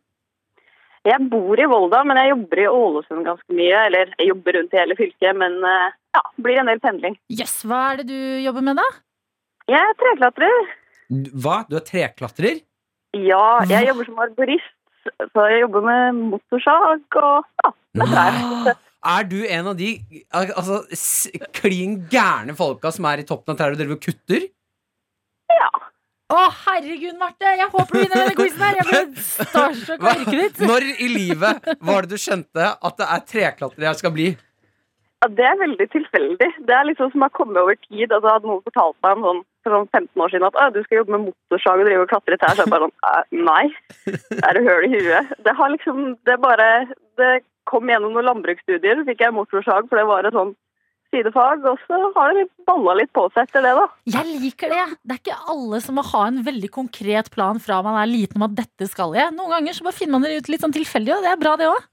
Jeg bor i Volda, men jeg jobber i Ålesund ganske mye. Eller jeg jobber rundt i hele fylket, men eh, ja, blir en del pendling. Jøss, yes, hva er det du jobber med, da? Jeg er treklatrer. Du- Hva? Du er treklatrer? Ja, jeg jobber som arborist. Så jeg jobber med motorsag og ja, det er Er du en av de al- altså, s- klin gærne folka som er i toppen av trærne og driver og kutter? Å, herregud, Marte! Jeg håper du vinner denne quizen her! Jeg blir starstruck av yrket ditt. Når i livet var det du skjønte at det er treklatrer jeg skal bli? ja, det er veldig tilfeldig. Det er liksom som har kommet over tid. Altså, hadde noen fortalt meg om sånn, for sånn 15 år siden at «Å, du skal jobbe med motorsag og drive og klatre i trær, så er jeg bare sånn «Æ, nei, er du høl i huet? Det har liksom, det bare, det kom gjennom noen landbruksstudier, så fikk jeg motorsag, for det var et sånn sidefag, og så har det balla litt på seg etter det da. Jeg liker det. Det er ikke alle som må ha en veldig konkret plan fra man er liten om at dette skal jeg. Noen ganger så bare finner man det ut litt sånn tilfeldig, og det er bra, det òg.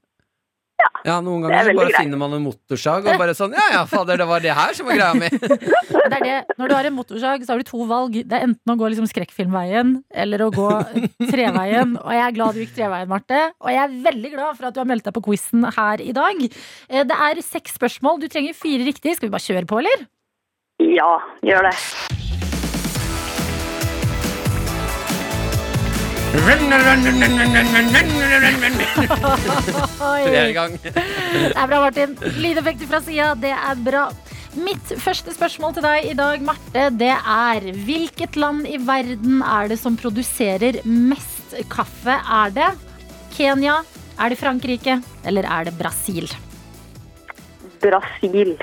Ja, Noen ganger Det er så veldig bare greit. finner man en motorsag og bare sånn Ja ja, fader, det var det her som var greia mi. Det er det. Når du har en motorsag, så har du to valg. Det er enten å gå liksom skrekkfilmveien eller å gå treveien. Og jeg er glad du gikk treveien, Marte. Og jeg er veldig glad for at du har meldt deg på quizen her i dag. Eh, Det er seks spørsmål. Du trenger fire riktig. Skal vi bare kjøre på, eller? Ja, gjør det. Flere Oi. gang. Det er bra, Martin. Lydeffekter fra sida, det er bra. Mitt første spørsmål til deg i dag, Marte, det er hvilket land i verden er det som produserer mest kaffe? Er det Kenya, er det Frankrike, eller er det Brasil? Brasil.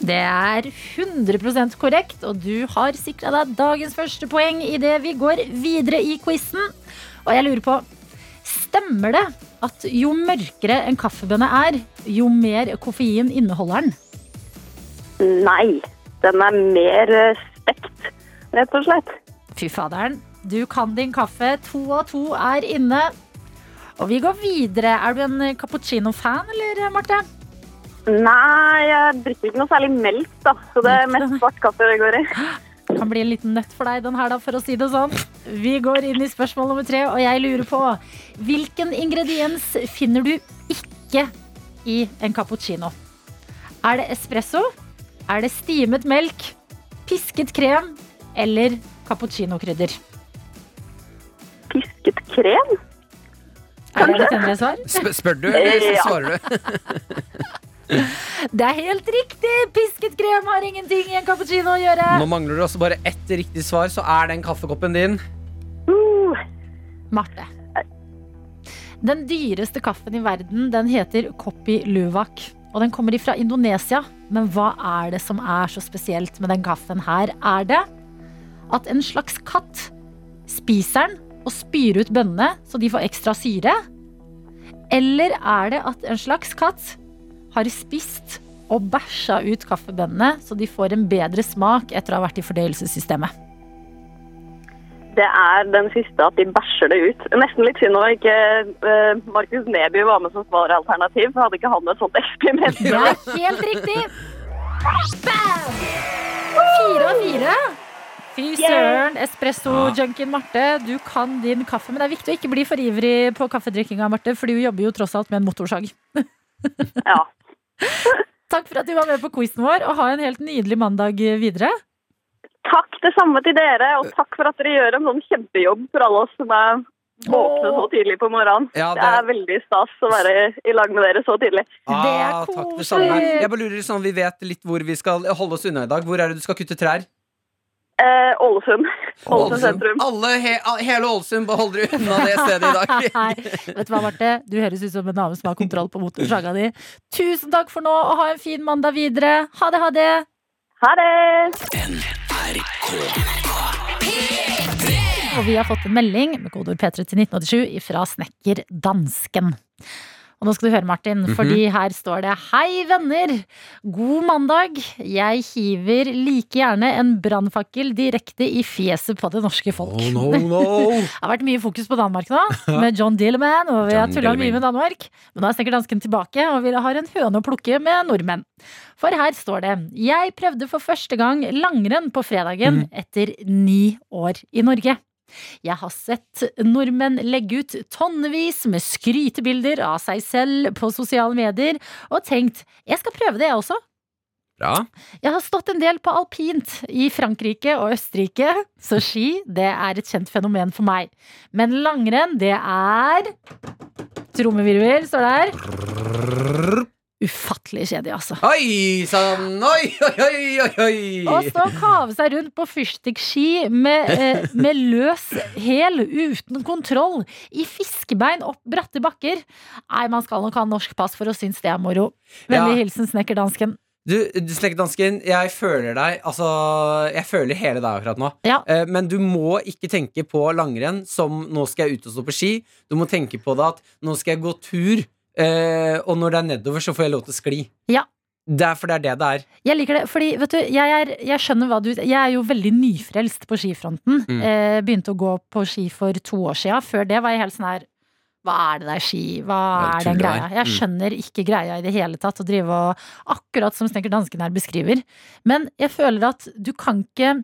Det er 100 korrekt, og du har sikra deg dagens første poeng idet vi går videre i quizen. Og jeg lurer på Stemmer det at jo mørkere en kaffebønne er, jo mer koffein inneholder den? Nei. Den er mer eh, stekt, rett og slett. Fy faderen, du kan din kaffe. To av to er inne. Og vi går videre. Er du en cappuccino-fan, eller, Marte? Nei, jeg drikker ikke noe særlig melk, da. Så det er mest svart kaffe det går i. kan bli en liten nøtt for deg den her, da, for å si det sånn. Vi går inn i spørsmål nummer tre, og jeg lurer på hvilken ingrediens finner du ikke i en cappuccino? Er det espresso? Er det stimet melk? Pisket krem? Eller cappuccinokrydder? Pisket krem? Er det litt endret svar? Sp spør du, eller Ja. svarer du? Det er helt riktig! Pisket krem har ingenting i en cappuccino å gjøre. Nå mangler du også bare ett riktig svar, så er den kaffekoppen din. Uh, Marte. Den dyreste kaffen i verden den heter Kopi Luwak. Og den kommer ifra Indonesia. Men hva er det som er så spesielt med den kaffen her? Er det at en slags katt spiser den og spyr ut bønnene så de får ekstra syre? Eller er det at en slags katt har spist og bæsja ut kaffebønnene så de får en bedre smak etter å ha vært i fordøyelsessystemet? det er den siste at de bæsjer det ut. Nesten litt synd når ikke eh, Markus Neby var med som svaralternativ. Hadde ikke han et sånt eksperiment? Det er helt riktig. Bam! Fire av fire. Fy søren, espresso-junkien Marte. Du kan din kaffe. Men det er viktig å ikke bli for ivrig på kaffedrikkinga, Marte, for du jobber jo tross alt med en motorsag. Ja. Takk for at du var med på quizen vår, og ha en helt nydelig mandag videre. Takk det samme til dere, og takk for at dere gjør en sånn kjempejobb for alle oss som er våkne så tidlig på morgenen. Ja, det... er veldig stas å være i lag med dere så tidlig. Ah, Det er takk, det koselig. samme. Jeg bare lurer sånn, vi vet litt hvor vi skal holde oss unna i dag. Hvor er det du skal kutte trær? Eh, Ålesund. Ålesund sentrum. Alle, he a- hele Ålesund, bare holder du unna det stedet i dag. Her. Vet du hva, Marte? Du høres ut som en dame som har kontroll på motorsaga di. Tusen takk for nå, og ha en fin mandag videre. Ha det, ha det. Ha det! Og vi har fått en melding med kodeord P3 til 1987 fra snekker Dansken. Og nå skal du høre, Martin, fordi her står det Hei, venner! God mandag! Jeg hiver like gjerne en brannfakkel direkte i fjeset på det norske folk. Det har vært mye fokus på Danmark nå, med John Dilleman, og vi har John tulla mye Dilleman. med Danmark. Men nå er snekker dansken tilbake, og vi har en høne å plukke med nordmenn. For her står det Jeg prøvde for første gang langrenn på fredagen etter ni år i Norge. Jeg har sett nordmenn legge ut tonnevis med skrytebilder av seg selv på sosiale medier, og tenkt jeg skal prøve det, jeg også. Bra. Jeg har stått en del på alpint i Frankrike og Østerrike, så ski det er et kjent fenomen for meg. Men langrenn, det er Trommevirvel står der. Ufattelig kjedelig, altså. Oi sann, oi, oi, oi, oi, Å oi. stå og kave seg rundt på fyrstikkski med, eh, med løs hæl uten kontroll i fiskebein opp bratte bakker. Nei, man skal nok ha norsk pass for å synes det er moro. Vennlig Ja. hilsen snekkerdansken. Du, du snekkerdansken, jeg føler deg Altså, jeg føler hele deg akkurat nå. Ja. Eh, Men du må ikke tenke på langrenn som 'nå skal jeg ut og stå på ski'. Du må tenke på det at 'nå skal jeg gå tur', eh, og når det er nedover, så får jeg lov til å skli. Ja. Det er for det er det det er. Jeg liker det, fordi vet du, jeg, er, jeg skjønner hva du Jeg er jo veldig nyfrelst på skifronten. Mm. Eh, begynte å gå på ski for to år sia. Før det var jeg helt sånn her Hva er det der ski? Hva Hva er tuller den du greia? der? Jeg Mm. skjønner ikke greia i det hele tatt. Å drive og Akkurat som Snekker Dansken her beskriver. Men jeg føler at du kan ikke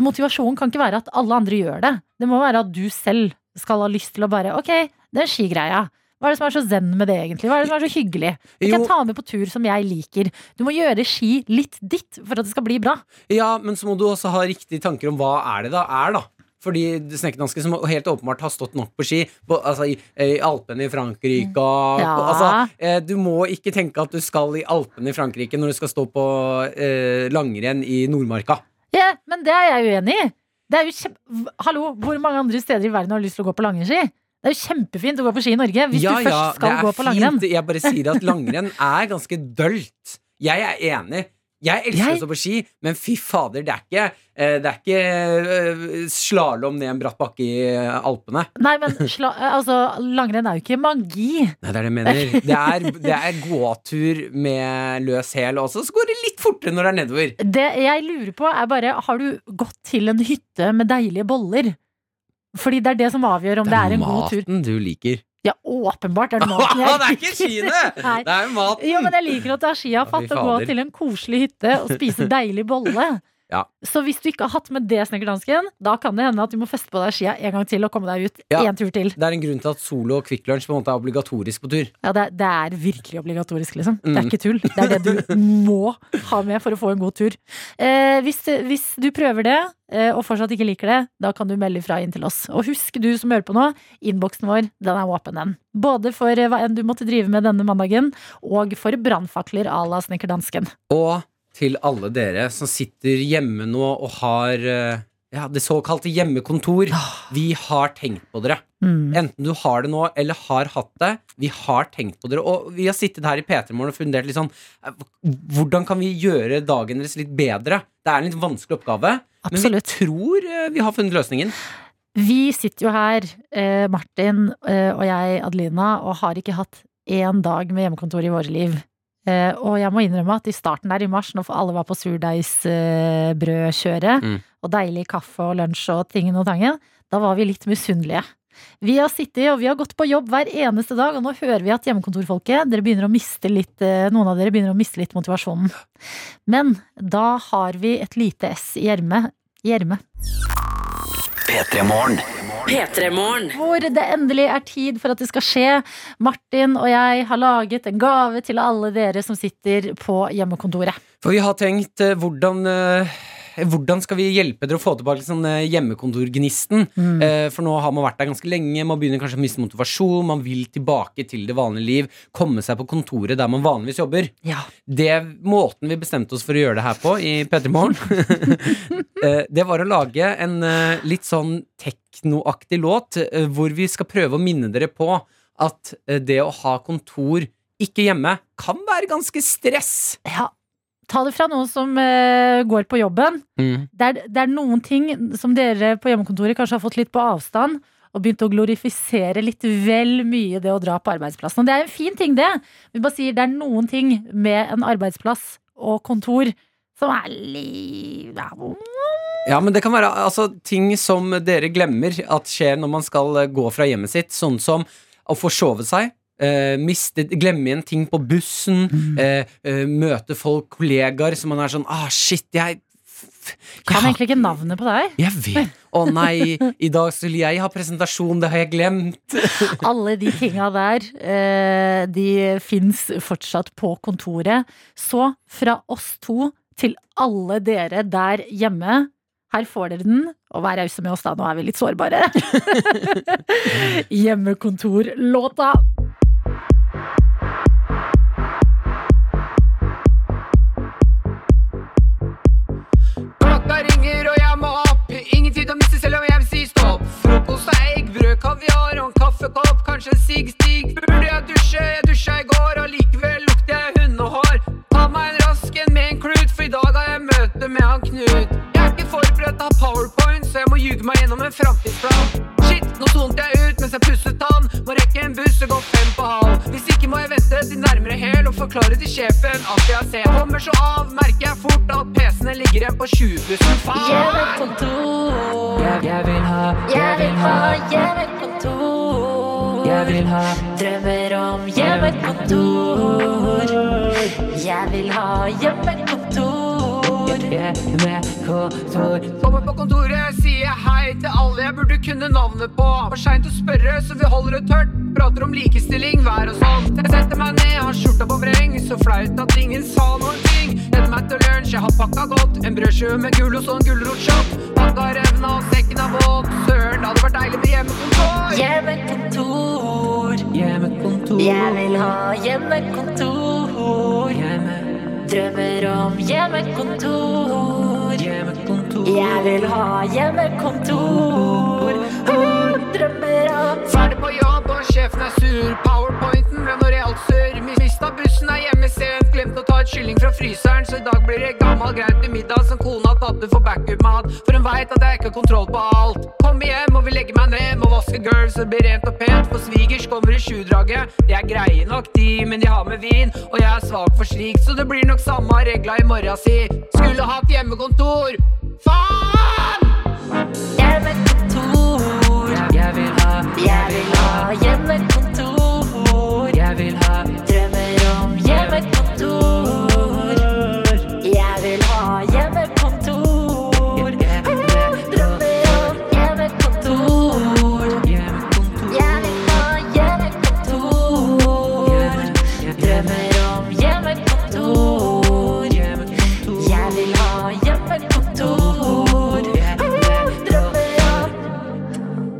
Motivasjonen kan ikke være at alle andre gjør det. Det må være at du selv skal ha lyst til å bare Ok, den skigreia. Hva er det som er så zen med det, egentlig? Hva er det som er så hyggelig? Du kan Jo. ta med på tur som jeg liker. Du må gjøre ski litt ditt for at det skal bli bra. Ja, men så må du også ha riktige tanker om hva er det da er, da. Fordi snekkerdansken som helt åpenbart har stått nok på ski, på, altså i, i Alpene i Frankrike og Ja. på, altså, eh, Du må ikke tenke at du skal i Alpene i Frankrike når du skal stå på eh, langrenn i Nordmarka. Ja, men det er jeg uenig i. Det er jo kjem- Hallo, hvor mange andre steder i verden har lyst til å gå på langrennsski? Det er jo kjempefint å gå på ski i Norge hvis ja, du først ja, det skal er gå på langrenn. fint. Jeg bare sier at langrenn er ganske dølt. Jeg er enig. Jeg elsker Jeg- å stå på ski, men fy fader, det er ikke, eh, det er ikke slalåm ned en bratt bakke i eh, Alpene. Nei, men sla, altså, langrenn er jo ikke magi. Nei, det er det jeg mener. Det er, det er gåtur med løs hæl også, så går det litt fortere når det er nedover. Det jeg lurer på, er bare Har du gått til en hytte med deilige boller? Fordi det er det som avgjør om det er, en god tur. maten du liker. Ja, åpenbart er det Åh, maten det jeg er ikke skiene! Nei. Det er jo maten. Jo, men jeg liker å ta skia fatt og fy gå fader. til en koselig hytte og spise deilig bolle. Ja. Så hvis du ikke har hatt med det, snekkerdansken, da kan det hende at du må feste på deg skia en gang til og komme deg ut Ja. en tur til. Det er en grunn til at Solo og Kvikk Lunsj på en måte er obligatorisk på tur. Ja, det, er- det er virkelig obligatorisk, liksom. Det Mm. er ikke tull. Det er det du må ha med for å få en god tur. Eh, hvis, hvis du prøver det, eh, og fortsatt ikke liker det, da kan du melde fra inn til oss. Og husk, du som hører på nå, innboksen vår, den er åpen, den. Både for eh, hva enn du måtte drive med denne mandagen, og for brannfakler à la snekkerdansken. Og til alle dere som sitter hjemme nå og har eh, ja, det såkalte hjemmekontor. Ah. Vi har tenkt på dere. Mm. Enten du har det nå eller har hatt det. Vi har tenkt på dere. Og vi har sittet her i P3 Morgen og fundert litt sånn eh, Hvordan kan vi gjøre dagen deres litt bedre? Det er en litt vanskelig oppgave. Absolutt. Men vi tror eh, vi har funnet løsningen. Vi sitter jo her, eh, Martin eh, og jeg, Adelina, og har ikke hatt én dag med hjemmekontor i våre liv. Eh, og jeg må innrømme at i starten der i mars, når alle var på surdeigsbrødkjøret, eh, brødkjøret, Mm. og deilig kaffe og lunsj og tingen og tangen, da var vi litt misunnelige. Vi har sittet og vi har gått på jobb hver eneste dag, og nå hører vi at hjemmekontorfolket, dere begynner å miste litt, eh, noen av dere begynner å miste litt motivasjonen. Men da har vi et lite S i ermet. I ermet. P3 Morgen. P3-morgen. hvor det endelig er tid for at det skal skje. Martin og jeg har laget en gave til alle dere som sitter på hjemmekontoret. For vi har tenkt eh, hvordan eh, hvordan skal vi hjelpe dere å få tilbake sånn eh, hjemmekontorgnisten? Eh, For nå har man vært der ganske lenge, man begynner kanskje å miste motivasjon, man vil tilbake til det vanlige liv, komme seg på kontoret der man vanligvis jobber. Ja. Det måten vi bestemte oss for å gjøre det her på i P3 Morgen, eh, det var å lage en eh, litt sånn teknoaktig låt eh, hvor vi skal prøve å minne dere på at eh, det å ha kontor ikke hjemme kan være ganske stress. Ta det fra noen som eh, går på jobben. Det er, det er noen ting som dere på hjemmekontoret kanskje har fått litt på avstand, og begynt å glorifisere litt vel mye det å dra på arbeidsplassen. Og det er en fin ting, det. Vi bare sier det er noen ting med en arbeidsplass og kontor som er litt Ja, men det kan være altså, ting som dere glemmer at skjer når man skal eh, gå fra hjemmet sitt, sånn som å forsove seg. eh, miste, glemme igjen ting på bussen, Mm. eh, eh, møte folk, kollegaer, som man er sånn Ah, shit, jeg f- Kan Ja, egentlig ikke navnet på deg. Jeg vet Å nei, i dag skulle jeg ha presentasjon, det har jeg glemt. Alle de tinga der, eh, de fins fortsatt på kontoret. Så fra oss to til alle dere der hjemme. Her får dere den, og vær rause med oss da, nå er vi litt sårbare. Hjemmekontorlåta. Klokka ringer og jeg må opp Ingen tid å miste selv om jeg vil si stopp Frokost og egg, brød, kaviar og en kaffekopp Kanskje en sigg stig Burde jeg dusje? Jeg dusja i går Og likevel lukter jeg hundehår Ta meg en rask en med en klut For i dag har jeg møte med han Knut Jeg er ikke forberedt av powerpoint Så jeg må ljuge meg gjennom en fremtidsplan Shit, nå sonte jeg ut mens jeg pusset tann Må rekke en buss og gå fem på halv Hvis ikke må jeg vente til nærmere hel Og forklare til sjefen at jeg ser Kommer så av, merker jeg fort at PC-ene ligger igjen på 20-bussen Faen! Hjemmekontor, Jeg, jeg vil ha, jeg vil ha hjemmekontor. jeg vil ha Drømmer om hjemmekontor. Jeg vil ha hjemmekontor. hjemmekontor. Kommer på kontoret, sier jeg hei til alle jeg burde kunne navnet på. For seint å spørre, så vi holder det tørt. Prater om likestilling, vær og sånn. Jeg setter meg ned, har skjorta på vreng. Så flaut at ingen sa noen ting. Gleder meg til lunsj, jeg har pakka godt. En brødskive med gulost og en gulrotshop. Pakka revna, og sekken er våt. Søren, det hadde vært deilig med hjemmekontor. Hjemmekontor. Hjemmekontor. Jeg vil ha hjemmekontor. Drømmer om hjemmekontor. Hjemmekontor. Jeg vil ha hjemmekontor. Ah, Drømmer om Ferdig på jobb og sjefen er sur. Powerpointen ble noe realt surr. Mista bussen, er hjemme sent. Glemte å ta et kylling fra fryseren, så i dag blir det gammel greit til middag som kona tatte for backup-mat. For hun veit at jeg ikke har kontroll på alt. Kommer hjem og vil legge meg ned, må vaske gulv så det blir rent og pent. For svigers kommer i sjudraget. De er greie nok, de, men de har med vin. Og jeg er svak for slikt, så det blir nok samme regla i morgen si. Skulle hatt hjemmekontor. Faen! hjemmekontor. Jeg vil ha, Jeg vil ha hjemmekontor. jeg vil ha Drømmer om hjemmekontor. Jeg vil ha hjemmekontor. Ah, Drømmer om hjemmekontor. Jeg vil ha hjemmekontor. Drømmer om hjemmekontor. Jeg vil ha hjemmekontor. Ah, Drømmer om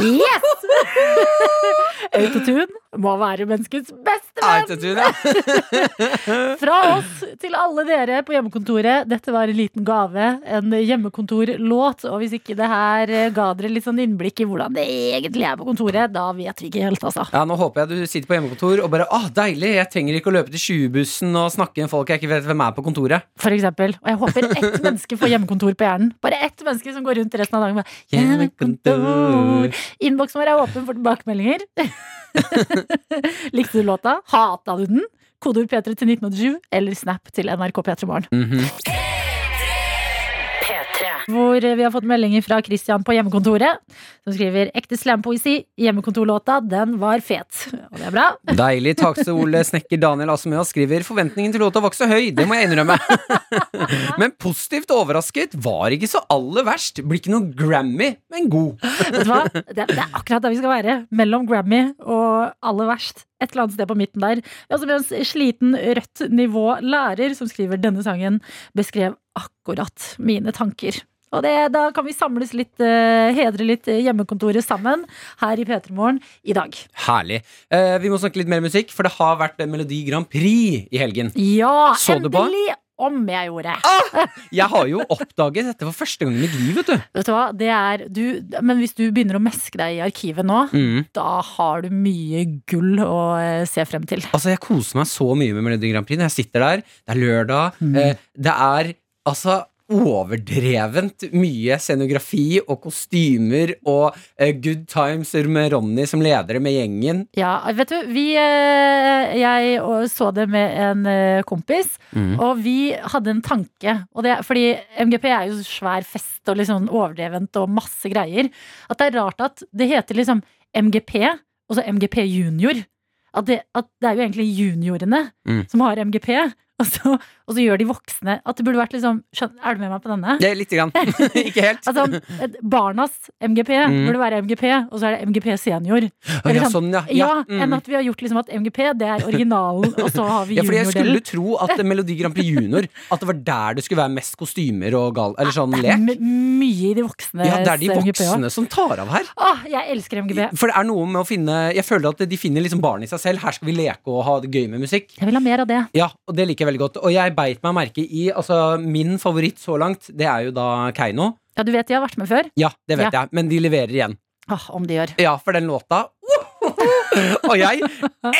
Yes! Autotune må være menneskets beste venn! Autotune, ja. Fra oss til alle dere på hjemmekontoret. Dette var en liten gave. En hjemmekontorlåt. Og hvis ikke det her eh, ga dere litt sånn innblikk i hvordan det egentlig er på kontoret, da vet vi ikke helt, altså. ja, nå håper jeg du sitter på hjemmekontor og bare ah, deilig, jeg trenger ikke å løpe til 20-bussen og snakke med folk jeg ikke vet hvem er på kontoret. For eksempel. Og jeg håper ett menneske får hjemmekontor på hjernen. Bare ett menneske som går rundt resten av dagen med hjemmekontor. Innboksen vår er åpen for tilbakemeldinger. Likte du låta? Hata du den? Kodeord P3 til 1987 eller Snap til NRK P3 Morgen. Hvor eh, vi har fått meldinger fra Christian på hjemmekontoret, som skriver ekte slampoesi. Hjemmekontorlåta, den var fet. Og det er bra. Deilig. Takse-Ole snekker Daniel Asmøa skriver forventningen til låta var ikke så høy, det må jeg innrømme. Men positivt overrasket var ikke så aller verst. Blir ikke noe Grammy, men god. Vet du hva? Det, det er akkurat der vi skal være. Mellom Grammy og aller verst. Et eller annet sted på midten der. Vi har også med oss sliten rødt nivå lærer som skriver denne sangen beskrev akkurat mine tanker. Og det, da kan vi samles litt, eh, hedre litt hjemmekontoret sammen her i P3 Morgen i dag. Herlig. Eh, vi må snakke litt mer musikk, for det har vært eh, Melodi Grand Prix i helgen. Ja, Så du på? endelig! Om jeg gjorde. Jeg har jo oppdaget dette for første gang i mitt liv, vet du. Vet du hva, det er du, Men hvis du begynner å meske deg i arkivet nå, Mm. da har du mye gull å eh, se frem til. Altså, jeg koser meg så mye med Melodi Grand Prix. Når jeg sitter der, det er lørdag, Mm. eh, det er altså overdrevent mye scenografi og kostymer og eh, good times med Ronny som ledere med gjengen. Ja, vet du, vi eh, Jeg og- så det med en eh, kompis, og vi hadde en tanke. Og det, fordi MGP er jo svær fest og liksom overdrevent og masse greier. At det er rart at det heter liksom MGP, og så MGP junior. At det, at det er jo egentlig juniorene Mm. som har MGP, og så, og så gjør de voksne At det burde vært liksom skjøn- Er du med meg på denne? Det er lite grann. Ikke helt. Altså, et- barnas MGP Mm. burde være MGP, og så er det MGP senior. Å, ja, sånn, ja. Ja, enn mm. at vi har gjort liksom at MGP det er originalen, og så har vi Ja, fordi jeg skulle juniordelen. tro at eh, Melodi Grand Prix Junior At det var der det skulle være mest kostymer og gal... Eller sånn lek. M- Mye i de voksne. Ja, det er de MGP også. voksne som tar av her. Åh, jeg elsker MGP. For det er noe med å finne Jeg føler at de finner liksom barn i seg selv. Her skal vi leke og ha det gøy med musikk. Jeg vil ha mer av det. Ja, og det liker jeg veldig godt. Og jeg beit meg merke i Altså, min favoritt så langt, det er jo da Keiino. Ja, du vet de har vært med før? Ja, det vet Ja. jeg, men de leverer igjen. Åh, om de gjør. Ja, for den låta Og jeg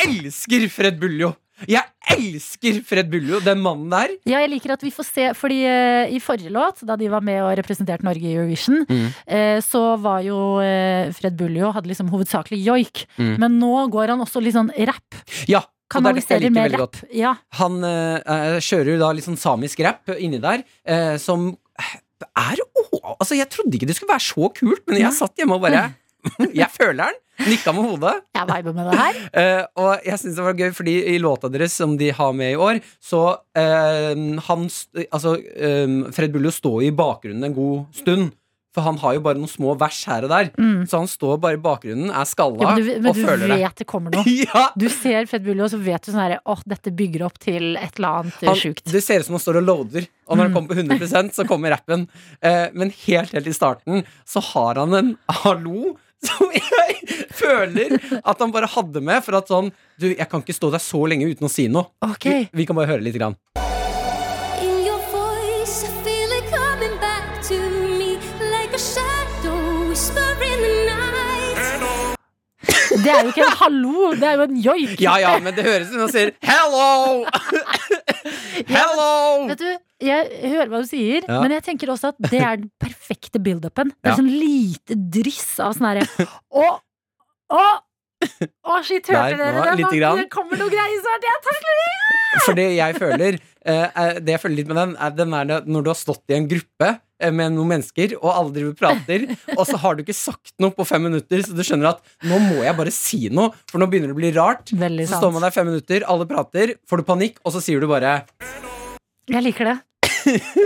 elsker Fred Buljo! Jeg elsker Fred Buljo, den mannen der. Ja, jeg liker at vi får se, fordi eh, i forrige låt, da de var med og representerte Norge i Eurovision, Mm. eh, så var jo eh, Fred Buljo hadde liksom hovedsakelig joik, Mm. men nå går han også litt sånn rapp. Ja, og det er dette jeg Kanaliserer liker mer veldig rapp. godt. Ja. Han eh, eh, kjører jo da litt sånn samisk rap inni der, eh, som er å, Altså, jeg trodde ikke det skulle være så kult, men jeg satt hjemme og bare Jeg føler den. Nikka med hodet. Jeg viber med det her. Eh, og jeg syns det var gøy, fordi i låta deres som de har med i år, så eh, han, st- altså, eh, Fred Buljo står jo i bakgrunnen en god stund. For han har jo bare noen små vers her og der. Mm. Så han står bare i bakgrunnen, er skalla Ja, men du, men og du føler det. vet det kommer noe. Ja, Du ser Fred Bulli, og så vet du sånn herre Åh, dette bygger opp til et eller annet eh, han, sjukt. det ser ut som han står og loader, og Mm. når han kommer på 100 så kommer rappen. Eh, men helt helt i starten så har han en hallo som jeg føler at han bare hadde med for at sånn Du, jeg kan ikke stå der så lenge uten å si noe. Ok. Vi, vi kan bare høre litt. Grann. In your voice, I feel it coming back to me like a shadow whisper in the night. Det er jo ikke en hallo, det er jo en joik. Ja ja, men det høres ut som han sier 'hello'! Hello! Vet du, jeg hører hva du sier, Mm. Ja. men jeg tenker også at det er den perfekte build-upen. Det er Ja. sånn lite dryss av sånn herre Å, å, å, shit, hørte Der, dere nå, det? lite Nå- grann. Det kommer noe greier snart. Jeg takler det! For det jeg føler eh, er- Det jeg føler litt med den, er den er det- når du har stått i en gruppe eh, med noen mennesker og alle driver og prater, og så har du ikke sagt noe på fem minutter, så du skjønner at nå må jeg bare si noe, for nå begynner det å bli rart. Veldig Så står man sant. der fem minutter, alle prater, får du panikk, og så sier du bare Jeg liker det.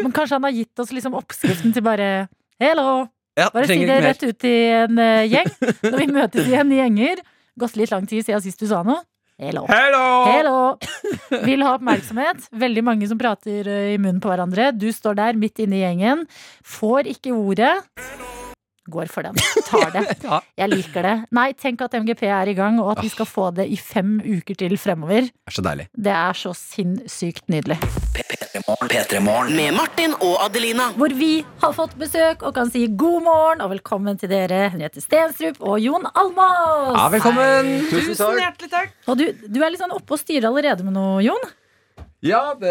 Men kanskje han har gitt oss liksom oppskriften til bare Hello! ja, Bare si trenger det ikke mer. rett ut i en eh, gjeng. Når vi møtes igjen i gjenger. Gått litt lang tid siden sist du sa noe. Hello. Hello! Hello! Vil ha oppmerksomhet. Veldig mange som prater eh, i munnen på hverandre. Du står der midt inne i gjengen. Får ikke ordet. Går for den. Tar det. Ja. Jeg liker det. Nei, tenk at MGP er i gang, og at vi skal få det i fem uker til fremover. Det er så deilig. Det er så sinnssykt nydelig. P3morgen. Med Martin og Adelina. Hvor vi har fått besøk og kan si god morgen og velkommen til dere, Henriette Stenstrup og Jon Almaas. Ja, velkommen! Tusen takk. Og du, du er litt sånn oppe og styrer allerede med noe, Jon. Ja, det,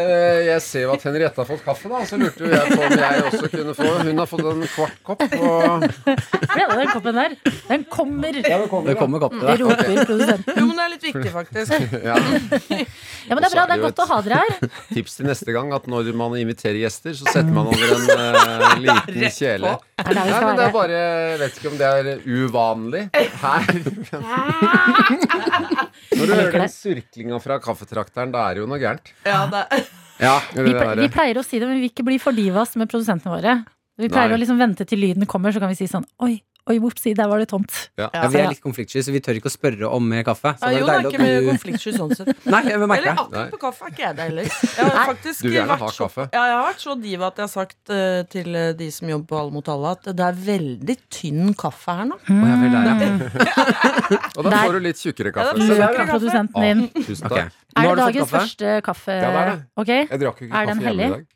jeg ser jo at Henriette har fått kaffe, da. Så lurte jo jeg på om jeg også kunne få. Hun har fått en kvart kopp. Og Ble det den koppen der? Den kommer. Det kommer kopp til Det deg. roper produsenten. Jo, men det er litt viktig, faktisk. ja, Ja, men det er bra. Det er godt å ha dere her. tips til neste gang at når man inviterer gjester, så setter man over en eh, liten kjele. Det er der vi Nei, skal men det er være. bare Jeg vet ikke om det er uvanlig her. Når du hører den surklinga fra kaffetrakteren, da er det jo noe gærent. Ja, det er Ja, Vi, ple- vi pleier å si det, men vi vil ikke bli for divas med produsentene våre. Vi pleier Nei. å liksom vente til lyden kommer, så kan vi si sånn Oi, oi, bortsi, der var det tomt. ja. Ja, vi er litt konfliktsky, så vi tør ikke å spørre om mer kaffe. Så Ja, det Jon var Ah, er deilig ikke med at du konfliktsky sånn sett. Nei, jeg merker Eller det. Nei. akkurat på kaffe er ikke jeg det heller. Jeg har faktisk Du vil gjerne vært ha så- kaffe. Ja, jeg har vært så diva at jeg har sagt eh, til eh, de som jobber på Alle mot alle, at det er veldig tynn kaffe her nå. Å, ja, vel, Mm. der, ja. Og da Der. får du litt tjukkere kaffe. Ja, Så det der, er Fra ja. produsenten Ah, din. tusen Ok. takk. Er det Nå har du fått dagens kaffe. første kaffe? Ja, det er det. Ok? Jeg drakk jo ikke Er den kaffe hjemme i hellig? dag.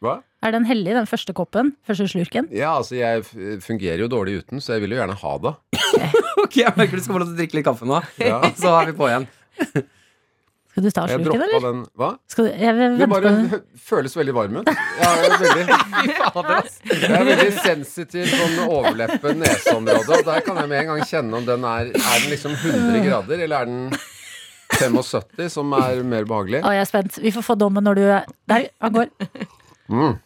Hva? Er den hellig, den første koppen? Første slurken? Ja, altså jeg f- fungerer jo dårlig uten, så jeg vil jo gjerne ha det. Ok, jeg merker du skal få lov til å drikke litt kaffe nå. Ja. Og så er vi på igjen. Skal du ta Jeg slurken, droppa eller? den Hva? Skal du, jeg Det venter bare på den. føles veldig varm ut. Jeg er veldig, jeg er veldig sensitiv sånn med overleppen, neseområdet, og der kan jeg med en gang kjenne om den er Er den liksom 100 grader, eller er den 75, som er mer behagelig? Å, jeg er spent. Vi får få dommen når du Der, han går. Mm.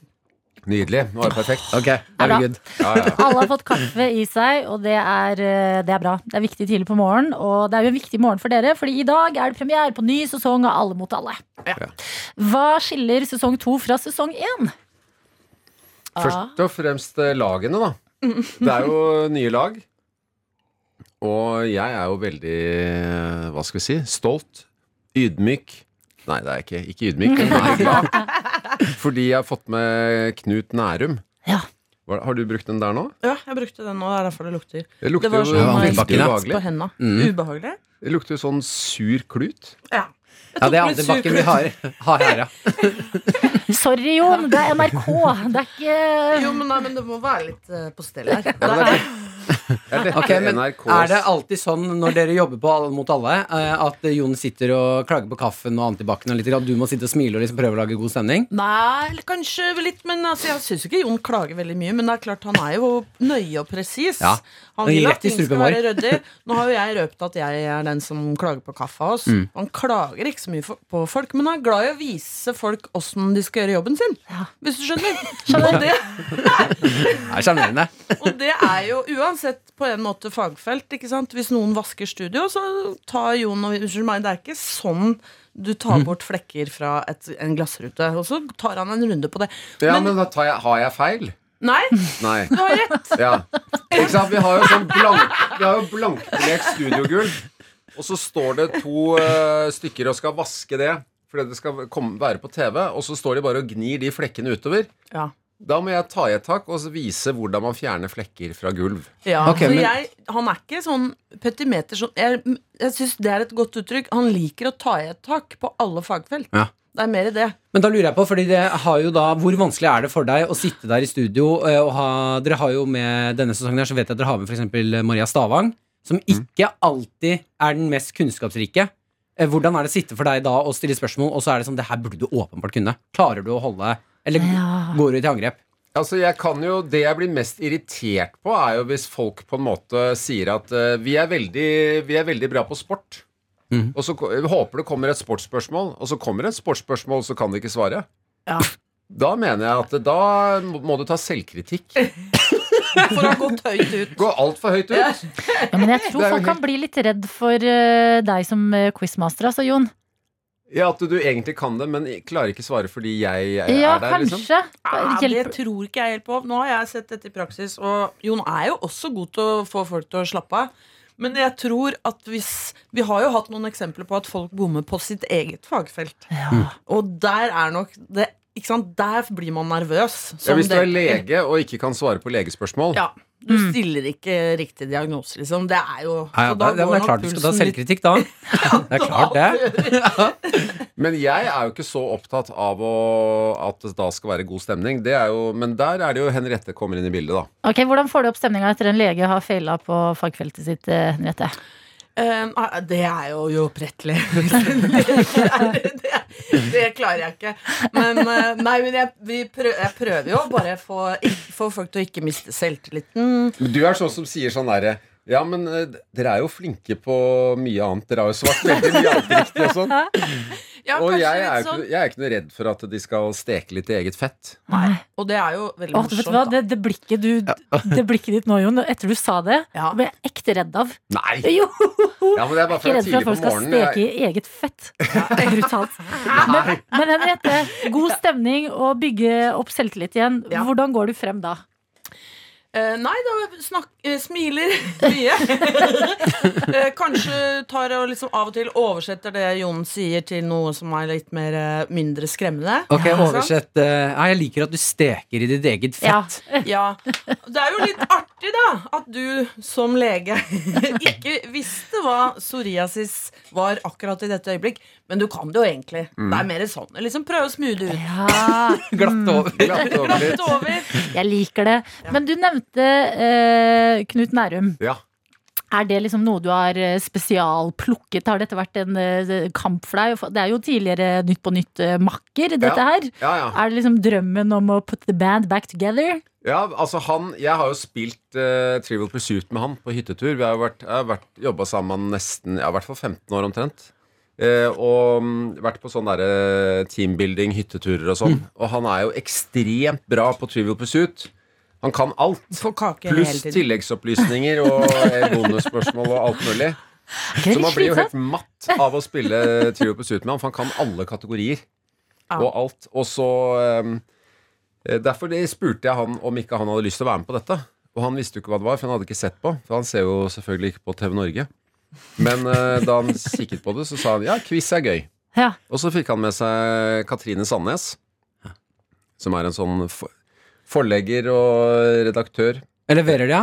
Nydelig. Nå er det perfekt. Ok, da er vi good. Ja, ja. Alle har fått kaffe i seg, og det er, eh, det er bra. Det er viktig tidlig på morgenen, og det er jo en viktig morgen for dere, fordi i dag er det premiere på ny sesong av Alle mot alle. Hva skiller sesong to fra sesong én? Først og fremst eh, lagene, da. Det er jo nye lag. Og jeg er jo veldig eh, Hva skal vi si? Stolt. Ydmyk. Nei, det er jeg ikke. Ikke ydmyk, men veldig glad. Fordi jeg har fått med Knut Nærum. Ja. Hva- Har du brukt den der nå? Ja, jeg brukte den nå, det er derfor det lukter. Det Det lukter var jo sånn Ja, eh, vannbakken, veldig ja. på ubehagelig. henda. Mm. Ubehagelig. Det lukter jo sånn sur klut. Ja. Ja, det er andre bakken vi har, har her, ja. Sorry, Jon, det er NRK. Det er ikke Jo, men, nei, men det må være litt eh, på stell her. Ja, men det er- det er dette Ok, men NRKs Er det alltid sånn når dere jobber på Alle mot alle, eh, at Jon sitter og klager på kaffen og antibac-en og litt, og du må sitte og smile og liksom prøve å lage god stemning? Nei, eller kanskje litt, men altså, jeg syns ikke Jon klager veldig mye. Men det er klart han er jo nøye og presis. Ja, Han han gir vil rett at i ting skal strupen vår. være ryddig. Nå har jo jeg røpt at jeg er den som klager på kaffe av oss. Mm. Han klager ikke så mye fo- på folk, men han er glad i å vise folk åssen de skal gjøre jobben sin. Hvis du skjønner. Og det, Det er sjarmerende. og det er jo uansett et på en måte fagfelt. ikke sant? Hvis noen vasker studio, så tar Jon og Unnskyld meg, det er ikke sånn du Mm. tar bort flekker fra et, en glassrute. Og så tar han en runde på det. Ja, men da tar jeg, har jeg feil? Nei, Nei. du har rett! Ja. Ikke sant? Vi har jo sånn blank, vi har jo blankpolert studiogulv, og så står det to eh, stykker og skal vaske det fordi det skal komme, være på TV, og så står de bare og gnir de flekkene utover. Ja. Da må jeg ta i et tak og så vise hvordan man fjerner flekker fra gulv. Ja, så jeg, Han er ikke sånn petimeter sånn, Jeg, jeg syns det er et godt uttrykk. Han liker å ta i et tak på alle fagfelt. Ja. Det er mer det. Men da lurer jeg på, fordi det har jo da Hvor vanskelig er det for deg å sitte der i studio eh, og ha Dere har jo med denne sesongen her, så vet jeg at dere har med f.eks. Maria Stavang, som ikke alltid er den mest kunnskapsrike. Eh, Hvordan er det å sitte for deg da og stille spørsmål, og så er det sånn Det her burde du åpenbart kunne. Klarer du å holde Eller går du til angrep? Altså, jeg kan jo, Det jeg blir mest irritert på, er jo hvis folk på en måte sier at eh, vi, er veldig, vi er veldig bra på sport. Mhm. Og så ko- jeg håper det kommer et sportsspørsmål, og så kommer det et sportsspørsmål, så kan de ikke svare. Da mener jeg at da må må du ta selvkritikk. For å ha gått høyt ut. Gå altfor høyt ut. Ja, men jeg tror Det er jo folk kan bli litt redd for eh, deg som eh, quizmaster, altså, Jon. Ja, At du egentlig kan det, men klarer ikke svare fordi jeg er Ja, der. liksom. kanskje. Ah, Ja, det tror ikke jeg helt på. Nå har jeg sett dette i praksis, og Jon er jo også god til å få folk til å slappe av. Men jeg tror at hvis Vi har jo hatt noen eksempler på at folk bommer på sitt eget fagfelt. Og der er nok det ikke sant? Der blir man nervøs. Ja, som hvis du er det- lege og ikke kan svare på legespørsmål Ja. Du stiller ikke riktig diagnose, liksom. Det er jo Ja, ja, så da det- det er går nok klart du skal ta pulsen litt- Kritikk, da? Det er klart, det. Men jeg er jo ikke så opptatt av å, at det da skal være god stemning. Det er jo, men der er det jo Henriette kommer inn i bildet, da. Ok, Hvordan får du opp stemninga etter en lege har feila på fagfeltet sitt, eh, Henriette? Eh, nei, det er jo uopprettelig. det, er- det, er- det klarer jeg ikke. Men, eh, nei, men jeg, vi prø- jeg prøver jo å bare få, ikk- få folk til å ikke miste selvtilliten. Men Du er sånn som sier sånn derre ja, men eh, dere er jo flinke på mye annet. Dere har jo svart veldig mye annet riktig og sånn. Ja, Og kanskje jeg er, litt jo ikke, sånn. jeg er ikke noe redd for at de skal steke litt i eget fett. Nei, og det er jo veldig Åh, vet du hva? morsomt. da. Det, det, blikket du, det blikket ditt nå, Jon, etter du sa det, ble jeg ekte redd av. Nei! Jo, Ja, men det er bare ikke redd for for tidlig at på folk skal morgenen. steke Jeg, i eget fett. Brutalt. Men, men Henriette, god stemning og bygge opp selvtillit igjen. Hvordan går du frem da? Eh, nei, da snak, eh, smiler mye. eh, kanskje tar og liksom av og til oversetter det Jon sier, til noe som er litt mer, eh, mindre skremmende. Ok, Ikke sant? oversett. eh, Nei, jeg liker at du steker i ditt eget fett. Ja. Det er jo litt artig, da, at du som lege ikke visste hva psoriasis var akkurat i dette øyeblikk, men du kan det jo egentlig. Mm. Det er mer sånn. Liksom prøve å smoothe ut. Glatt Mm. over. Glatt over litt. Jeg liker det. Men du nevnte eh, Knut Nærum. Ja. Er det liksom noe du har eh, spesialplukket? Har dette vært en eh, kamp for deg? Det er jo tidligere Nytt på nytt-makker, dette Ja. her. Ja, ja. Er det liksom drømmen om å put the band back together? ja, altså han, jeg har jo spilt eh, Trivial Pursuit med han på hyttetur. Vi har jo vært, jeg har vært, jobba sammen nesten ja, i hvert fall 15 år omtrent. Eh, og mm, vært på sånn derre teambuilding, hytteturer og sånn. Og han er jo ekstremt bra på Trivial Pursuit. Han kan alt. hele Pluss tiden. tilleggsopplysninger og eh, bonusspørsmål og alt mulig. ikke Så man blir jo slitsomt? helt matt av å spille Trivial Pursuit med ham, for han kan alle kategorier Ja. og alt. Og så um, eh, Derfor det spurte jeg han om ikke han hadde lyst til å være med på dette. Og han visste jo ikke hva det var, for han hadde ikke sett på. For han ser jo selvfølgelig ikke på TV Norge. Men eh, da han kikket på det, så sa han ja, quiz er gøy. Ja. Og så fikk han med seg Katrine Sandnes, som er en sånn for forlegger og redaktør. Leverer de, ja?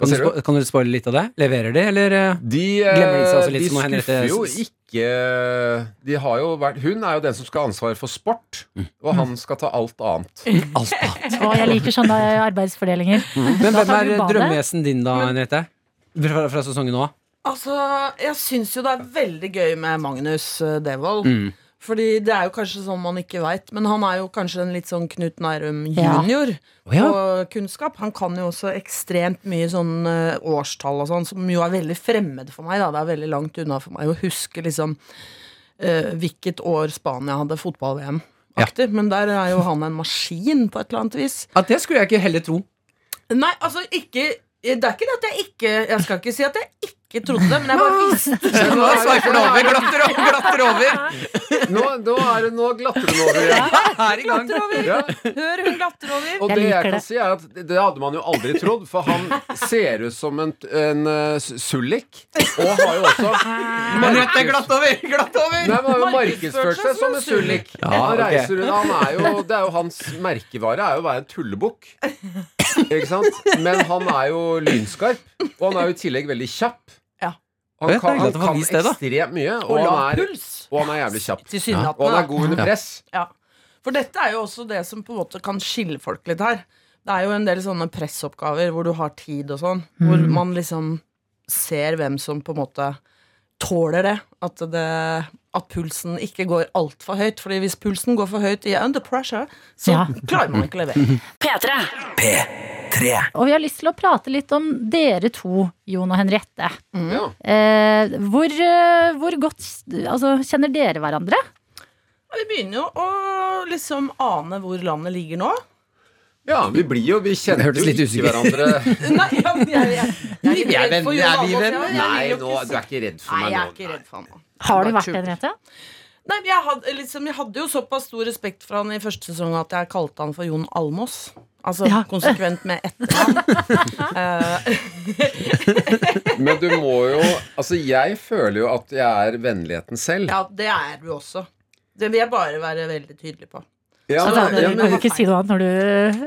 Kan, du, spo- kan du spoile litt av det? Leverer de, eller eh, glemmer de seg også litt? de som Henriette skuffer jo s- ikke de har jo vært, Hun er jo den som skal ha ansvaret for sport, og Mm. han skal ta alt annet. Å, jeg liker sånne arbeidsfordelinger. Men Da hvem tar er du bane. drømmegjesten din da, Henriette? Fra, fra sesongen nå? Altså, jeg syns jo det er veldig gøy med Magnus eh, Devold. Mm. Fordi det er jo kanskje sånn man ikke veit, men han er jo kanskje en litt sånn Knut Nærum Ja. junior Å ja. på kunnskap. Han kan jo også ekstremt mye sånn eh, årstall og sånn, som jo er veldig fremmed for meg. Da. Det er veldig langt unna for meg å huske liksom eh, hvilket år Spania hadde fotball-VM. aktig Men der er jo han en maskin, på et eller annet vis. Ja, det skulle jeg ikke heller tro. Nei, altså ikke Det er ikke det at jeg ikke Jeg skal ikke si at jeg ikke trodde det, men jeg bare visste det. Nå sveiper den over, glatter over, glatter over. Nå, nå, er det, nå glatter den over. igjen. Her i gang. Ja. Hør, hun glatter over. Og det jeg kan si er at det det hadde man jo aldri trodd, for han ser ut som en, en eh, sullik. Og har jo også Henriette, glatt over! Glatt over! Nei, men han har jo markedsført seg som en sullik. Ja, han ok. reiser rundt, han er jo, det er jo hans merkevare er jo å være en tullebukk. Ikke sant? Men han er jo lynskarp, og han er jo i tillegg veldig kjapp. Han Vet, kan, det er han glad for å kan vise det, da. ekstremt mye, og, Og lav han er, puls. og han er jævlig kjapp. Tilsynelatende, Og han da. er god under Ja. press. Ja. For dette er jo også det som på en måte kan skille folk litt her. Det er jo en del sånne pressoppgaver hvor du har tid og sånn, hvor Mm. man liksom ser hvem som på en måte tåler det. At, det, at pulsen ikke går altfor høyt. Fordi hvis pulsen går for høyt i under pressure, så Ja. klarer man ikke å levere. P3. Og vi har lyst til å prate litt om dere to, Jon og Henriette. Ja. Eh, hvor, eh, hvor godt altså, kjenner dere hverandre? Vi begynner jo å liksom ane hvor landet ligger nå. Ja, vi blir jo Vi kjenner Hørtes jo litt ikke usikker. hverandre. Nei, ja, men jeg, jeg, jeg er litt Jeg er redd for Jon venn- er vi Almaas, ja, venn? jeg vil jo Nei, nå- si- du er ikke redd for Nei, meg jeg nå. er ikke redd for ham. Har du Bare vært det, Henriette? Nei, men jeg hadde, liksom, jeg hadde jo såpass stor respekt for han i første sesong at jeg kalte han for Jon Almås. Altså Ja. konsekvent med etternavn. Eh, Men du må jo Altså, jeg føler jo at jeg er vennligheten selv. ja, det er du også. Det vil jeg bare være veldig tydelig på. Ja, altså, men- ja, du kan jo men- ikke si noe annet når du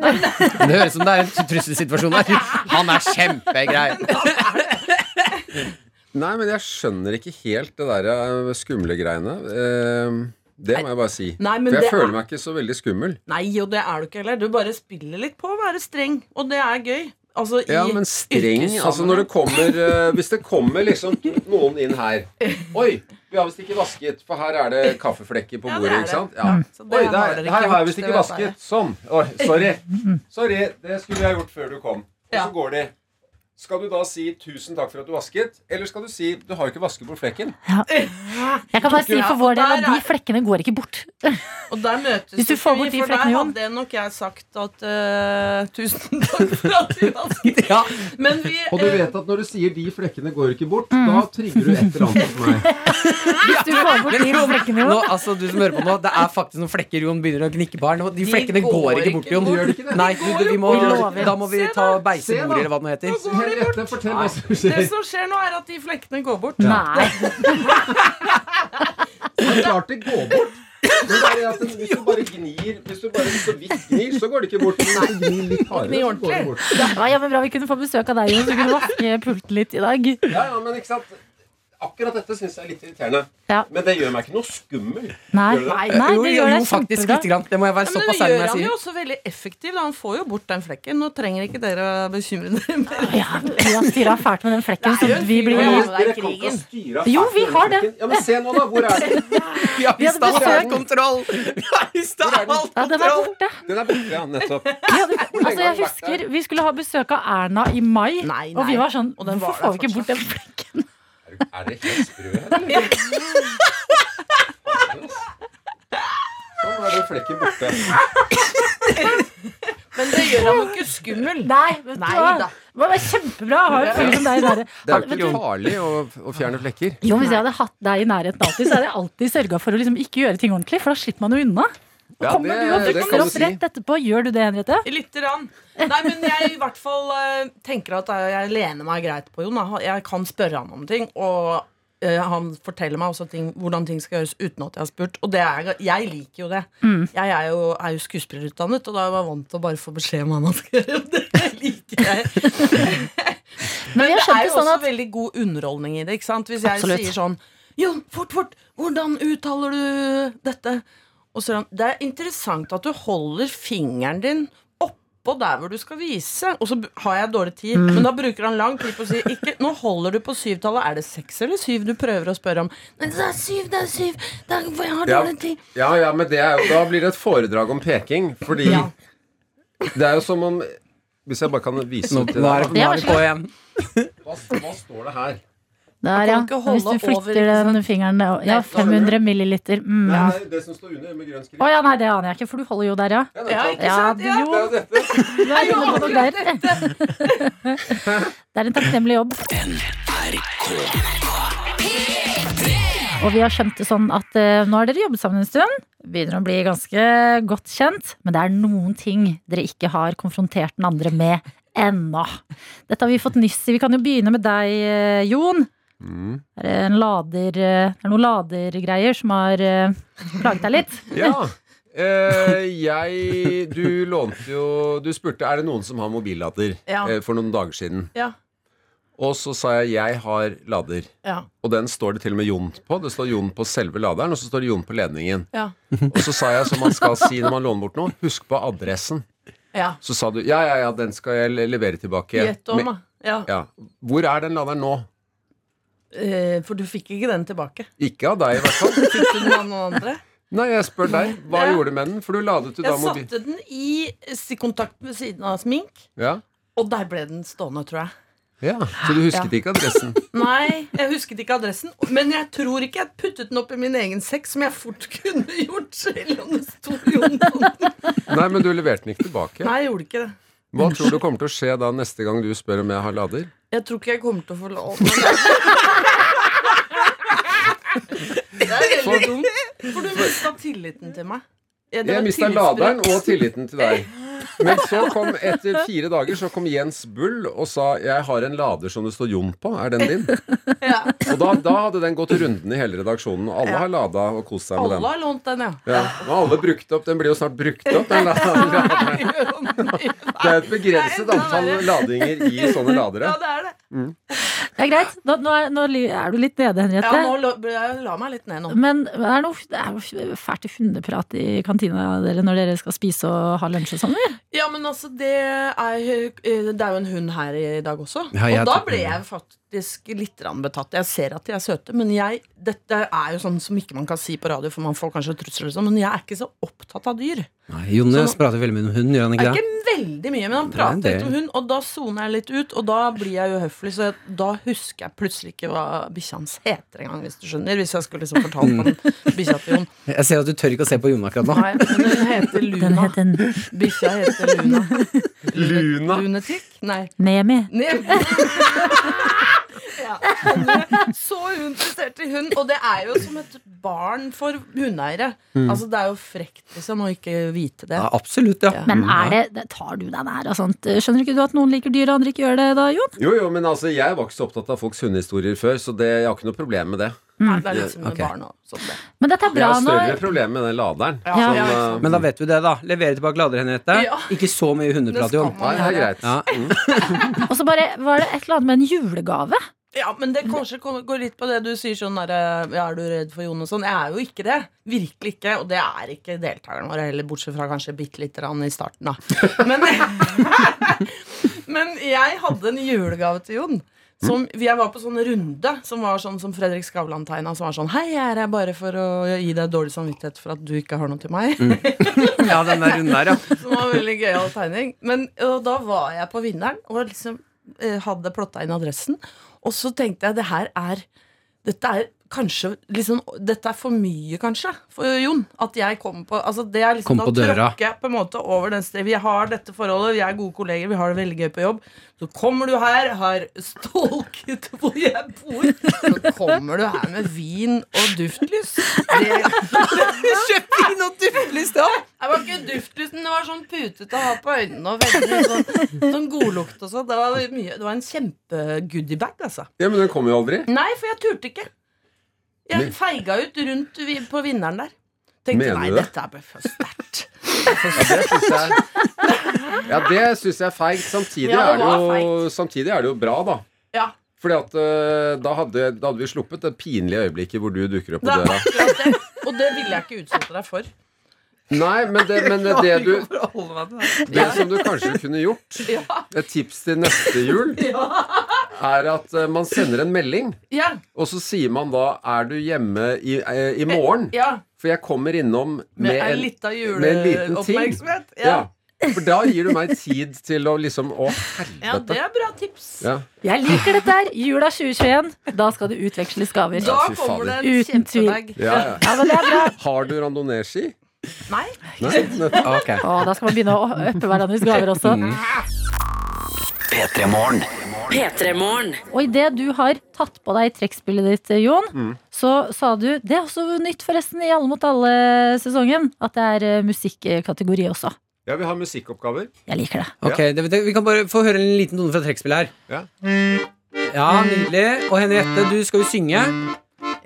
Det høres ut som det er en trusselsituasjon her. Han er kjempegrei. Nei, men jeg skjønner ikke helt det der eh, skumle greiene. Eh, Det må jeg bare si. Nei, men For jeg det føler er- meg ikke så veldig skummel. Nei, og det er du ikke heller. Du bare spiller litt på å være streng, og det er gøy. Altså, i Ja, men streng yrkessammenheng. Altså når det kommer eh, Hvis det kommer liksom noen inn her Oi, vi har visst ikke vasket, for her er det kaffeflekker på Ja, det bordet, er ikke det. sant? Ja, Ja. så det Oi, har der, dere ikke her har gjort, jeg visst det vet ikke jeg. vasket. Sånn. Oi, sorry. Sorry, det skulle jeg gjort før du kom. Og så går de. Skal du da si 'tusen takk for at du vasket', eller skal du si 'du har jo ikke vasket bort flekken'? Jeg kan bare si Ja, for og vår del der at de er- flekkene går ikke bort. Og der møtes Hvis du får bort de vi, for flekkene, der Jon. hadde nok jeg sagt at eh, Tusen takk for at du vasket. Men vi Og du eh, vet at når du sier 'de flekkene går ikke bort', da Mm. trigger du et eller annet for meg. Hvis du får bort de flekkene, Nå, Jon. altså, du som hører på nå, det er faktisk noen flekker Jon begynner å gnikke på her. nå. De De flekkene går går ikke bort, ikke Jon. bort. Gjør de ikke det? Nei, du, du, vi må, Vi lover. da må vi ta beiseborer, eller hva det nå Nå heter. går de bort. Henriette, fortell hva som Det skjer. som skjer nå, er at de flekkene går bort. Nei. Det er klart det går bort. Men det er det at hvis du bare gnir Hvis du bare så vidt gnir, så går det ikke bort. Men hvis du gnir litt hardere, så går det bort. Det var jammen bra vi kunne få besøk av deg, Jon, så vi kunne vaske pulten litt i dag. Ja, ja, men ikke sant Akkurat dette syns jeg er litt irriterende. Ja. Men det gjør meg ikke noe skummel. Nei, Gjør det? nei, nei Eh, Jo, det jo, gjør jo, deg faktisk kjempebra. litt. Grann. Det må jeg være Men det såpass ærlig gjør når han jeg jo sier. også veldig effektiv. da. Han får jo bort den flekken. Nå trenger ikke dere å bekymre dere mer. Ja, vi har styra fælt med den flekken, så altså, vi blir Ja, det er Dere kan ikke krigen. styre Jo, vi har det. Ja, men se nå, da. Hvor er den? Vi har Vi hadde mista all besøk. kontroll! Vi har mista all Ja, den er kontroll! borte. Den er borte, ja. Nettopp. Altså, jeg husker Vi skulle ha besøk av Erna i mai, Nei, og vi nei. var sånn Og den Hvorfor får vi var der ikke bort den flekken? Er det helt sprø her, eller? Sånn er det flekken borte. Men det gjør han jo ikke skummel. Nei, vet du Nei hva? da. Det var kjempebra å ha en fyr som deg i Det er jo nærheten. ikke farlig å, å fjerne flekker. Jo, Hvis jeg hadde hatt deg i nærheten alltid, så hadde jeg alltid sørga for å liksom ikke gjøre ting ordentlig, for da slipper man jo unna. Ja, Kommer du og dukker opp rett etterpå? Gjør du det, Henriette? Lite grann. Nei, men jeg i hvert fall eh, tenker at jeg, jeg lener meg greit på Jon. da. Jeg kan spørre han om ting. Og eh, han forteller meg også ting, hvordan ting skal gjøres uten at jeg har spurt. Og det er, jeg liker jo det. Mm. Jeg er jo, er jo skuespillerutdannet, og da er jeg vant til å bare få beskjed om hva man skal gjøre. Og det liker jeg. Men vi Det har skjønt det er jo sånn også at veldig god underholdning i det. ikke sant? Hvis jeg Absolutt. sier sånn Jon, fort, fort! Hvordan uttaler du dette? Og så er han Det er interessant at du holder fingeren din oppå der hvor du skal vise. Og så b- har jeg dårlig tid, men da bruker han lang tid på å si ikke, Nå holder du på syvtallet. Er det seks eller syv du prøver å spørre om? Nei, det er syv, det er syv! Det er, for jeg har Ja. dårlig tid. Ja, ja, men det er jo, da blir det et foredrag om peking, fordi Ja. det er jo som om Hvis jeg bare kan vise Nå, ut det nå, er, der. nå er vi på igjen. Hva, hva står det her? Man Der, kan ja. ikke Hvis holde du flytter over, liksom- ikke sant? den fingeren ned- Ja, Nettopp. 500 milliliter. Mm. Det er det som står under med grønn skrift. Å ja, nei, det aner jeg ikke, for du holder jo der, ja. Ja, ikke sant? du- Ja, jo. det er jo dette. Du er Det er jo inne på noe der. akkurat Det er en takknemlig jobb. Og vi har skjønt det sånn at eh, nå har dere jobbet sammen en stund. Begynner å bli ganske godt kjent. Men det er noen ting dere ikke har konfrontert den andre med ennå. Dette har vi fått nyss i. Vi kan jo begynne med deg, eh, Jon. Det er, en lader, eh, det er noen ladergreier som har eh, plaget deg litt. Ja. Eh, jeg Du lånte jo Du spurte er det noen som har mobillader Ja. eh, for noen dager siden. Ja. Og så sa jeg 'jeg har lader'. Ja. Og den står det til og med Jon på. Det står Jon på selve laderen, og så står det Jon på ledningen. Ja. Og så sa jeg som man skal si når man låner bort noe, husk på adressen. Ja. Så sa du ja, ja, ja, den skal jeg le- levere tilbake. Gjett om, Men- da. Ja. ja. Hvor er den laderen nå? Eh, For du fikk ikke den tilbake. Ikke av deg, i hvert fall. Fikk du den av noen andre? Nei, jeg spør deg. Hva Ja. gjorde du med den? For du ladet jo da Jeg mobil... satte den i stikkontakt ved siden av smink, Ja. og der ble den stående, tror jeg. ja, Så du husket Ja. ikke adressen? Nei, jeg husket ikke adressen, men jeg tror ikke jeg puttet den opp i min egen sekk, som jeg fort kunne gjort selv om det sto Jon på den. Nei, men du leverte den ikke tilbake. Nei, jeg gjorde ikke det. Hva tror du kommer til å skje da neste gang du spør om jeg har lader? Jeg tror ikke jeg kommer til å få lov Det er veldig dumt, for du mista tilliten til meg. Ja, det Jeg var mista tillitsbrudd. laderen og tilliten til deg. Men så kom etter fire dager så kom Jens Bull og sa 'Jeg har en lader som det står Jon på. Er den din?' Og da, da hadde den gått runden i hele redaksjonen. Og alle Ja. har lada og kost seg med Alle den. har lånt den, ja. Ja, og alle brukt opp. Den blir jo snart brukt opp. Den laderen. det er et begrenset antall ladinger i sånne ladere. Ja, det er det. Mm. Det er greit. Nå, nå, er, nå ly- er du litt nede, Henriette. Ja, nå la, jeg la meg litt ned nå. Men er det, noe, det er jo fælt hundeprat i kantina dere når dere skal spise og ha lunsj og sånn. eller? Ja, men altså, det er, eh, det er jo en hund her i dag også. Ja, jeg og da tok ble den. jeg faktisk litt rann betatt. Jeg ser at de er søte, men jeg, dette er jo sånn som ikke man kan si på radio, for man får kanskje trusler og sånn, men jeg er ikke så opptatt av dyr. Nei, Jonas prater veldig mye om hunden, gjør han ikke Det er det? ikke veldig mye, men han Det er en prater del. litt om hund, og da soner jeg litt ut, og da blir jeg uhøflig, så jeg, da husker jeg plutselig ikke hva bikkja hans heter engang, hvis du skjønner, hvis jeg skulle liksom fortalt om bikkja til Jon. Jeg ser at du tør ikke å se på Jon akkurat nå. Nei, men hun heter Luna. Bikkja heter Luna. Luna. Lunatic? Nei. Nemi. Nemi. ja. Så uinteressert i hund. Og det er jo som et barn for hundeeiere. Mm. Altså, det er jo frekt liksom, å ikke vite det. Ja, absolutt, ja. Men er det, det- tar du deg nær av sånt? Skjønner ikke du at noen liker dyr og andre ikke gjør det da, Jon? Jo, jo, men altså, jeg var ikke så opptatt av folks hundehistorier før, så det, jeg har ikke noe problem med det. Nei, det er litt som med Ok. barn og sånn det. Men dette er Jeg bra har større når problem med den laderen. Ja, ja, ikke eh, Men da vet du det, da. Levere tilbake lader, Henriette. Ja. Ikke så mye Det hundeprat, skal Jon. man Nei, det er greit. Ja. Og så bare var det et eller annet med en julegave. Ja, men det kanskje kommer- går litt på det du sier sånn der, eh, ja, Er du redd for Jon og sånn? Jeg er jo ikke det. Virkelig ikke. Og det er ikke deltakerne våre heller, bortsett fra kanskje bitte lite grann i starten, da. Men, men jeg hadde en julegave til Jon. Som, jeg var på sånn runde som var sånn som Fredrik Skavlan tegna. Som var sånn Hei, jeg er her bare for å gi deg dårlig samvittighet for at du ikke har noe til meg. Mm. Ja, den der runden der, ja. Som var en veldig gøyal tegning. Men og da var jeg på vinneren og liksom eh, hadde plotta inn adressen. Og så tenkte jeg det her er Dette er kanskje liksom, Dette er for mye, kanskje, for Jon. At jeg kommer på altså det er liksom, Kom på Da døra. tråkker jeg på en måte over den stedet. Vi har dette forholdet, vi er gode kolleger, vi har det veldig gøy på jobb. Så kommer du her, har stalket hvor jeg bor. Så kommer du her med vin og duftlys. Det Kjøp vin og duftlys, da! Det var ikke duftlys, men det var sånn putete å ha på øynene og veldig sånn, sånn godlukt og sånn. Det var, mye- det var en kjempegoodiebag, altså. ja, men den kommer jo aldri. Nei, for jeg turte ikke. Jeg feiga ut rundt vi- på vinneren der. Tenkte Mener nei, du det? dette er bare for sterkt. Ja, det syns jeg er feigt. Samtidig, Ja, det er det var jo- samtidig er det jo bra, da. Ja. Fordi at eh, da hadde, da hadde vi sluppet det pinlige øyeblikket hvor du dukker opp på Det er døra. akkurat det. Og det ville jeg ikke utsette deg for. Nei, men det, men det, du, det Ja. som du kanskje kunne gjort, et tips til neste jul, er at eh, man sender en melding, Ja. og så sier man da 'Er du hjemme i, eh, i morgen?' Ja. For jeg kommer innom med, Med ei en- lita med en liten ting. juleoppmerksomhet. Ja. For da gir du meg tid til å liksom Å, Ja, det helvete. er bra tips. Ja. Jeg liker dette her. Jula 2021. Da skal det utveksles gaver. Ja, fy fader. Uten tvil. Ja, ja. Ja, men det er bra. Har du randonee-ski? Nei. Nei? Ah, Nettopp. Å, da skal man begynne å øppe hverandres gaver også. Mm. P3-morgen. P3-morgen. Og idet du har tatt på deg trekkspillet ditt, eh, Jon, så sa du Det er også nytt, forresten, i Alle mot alle-sesongen, at det er eh, musikkategori også. Ja, vi har musikkoppgaver. Jeg liker det. Ok, det, det, Vi kan bare få høre en liten tone fra trekkspillet her. Ja. nydelig. Og Henriette, du skal jo synge.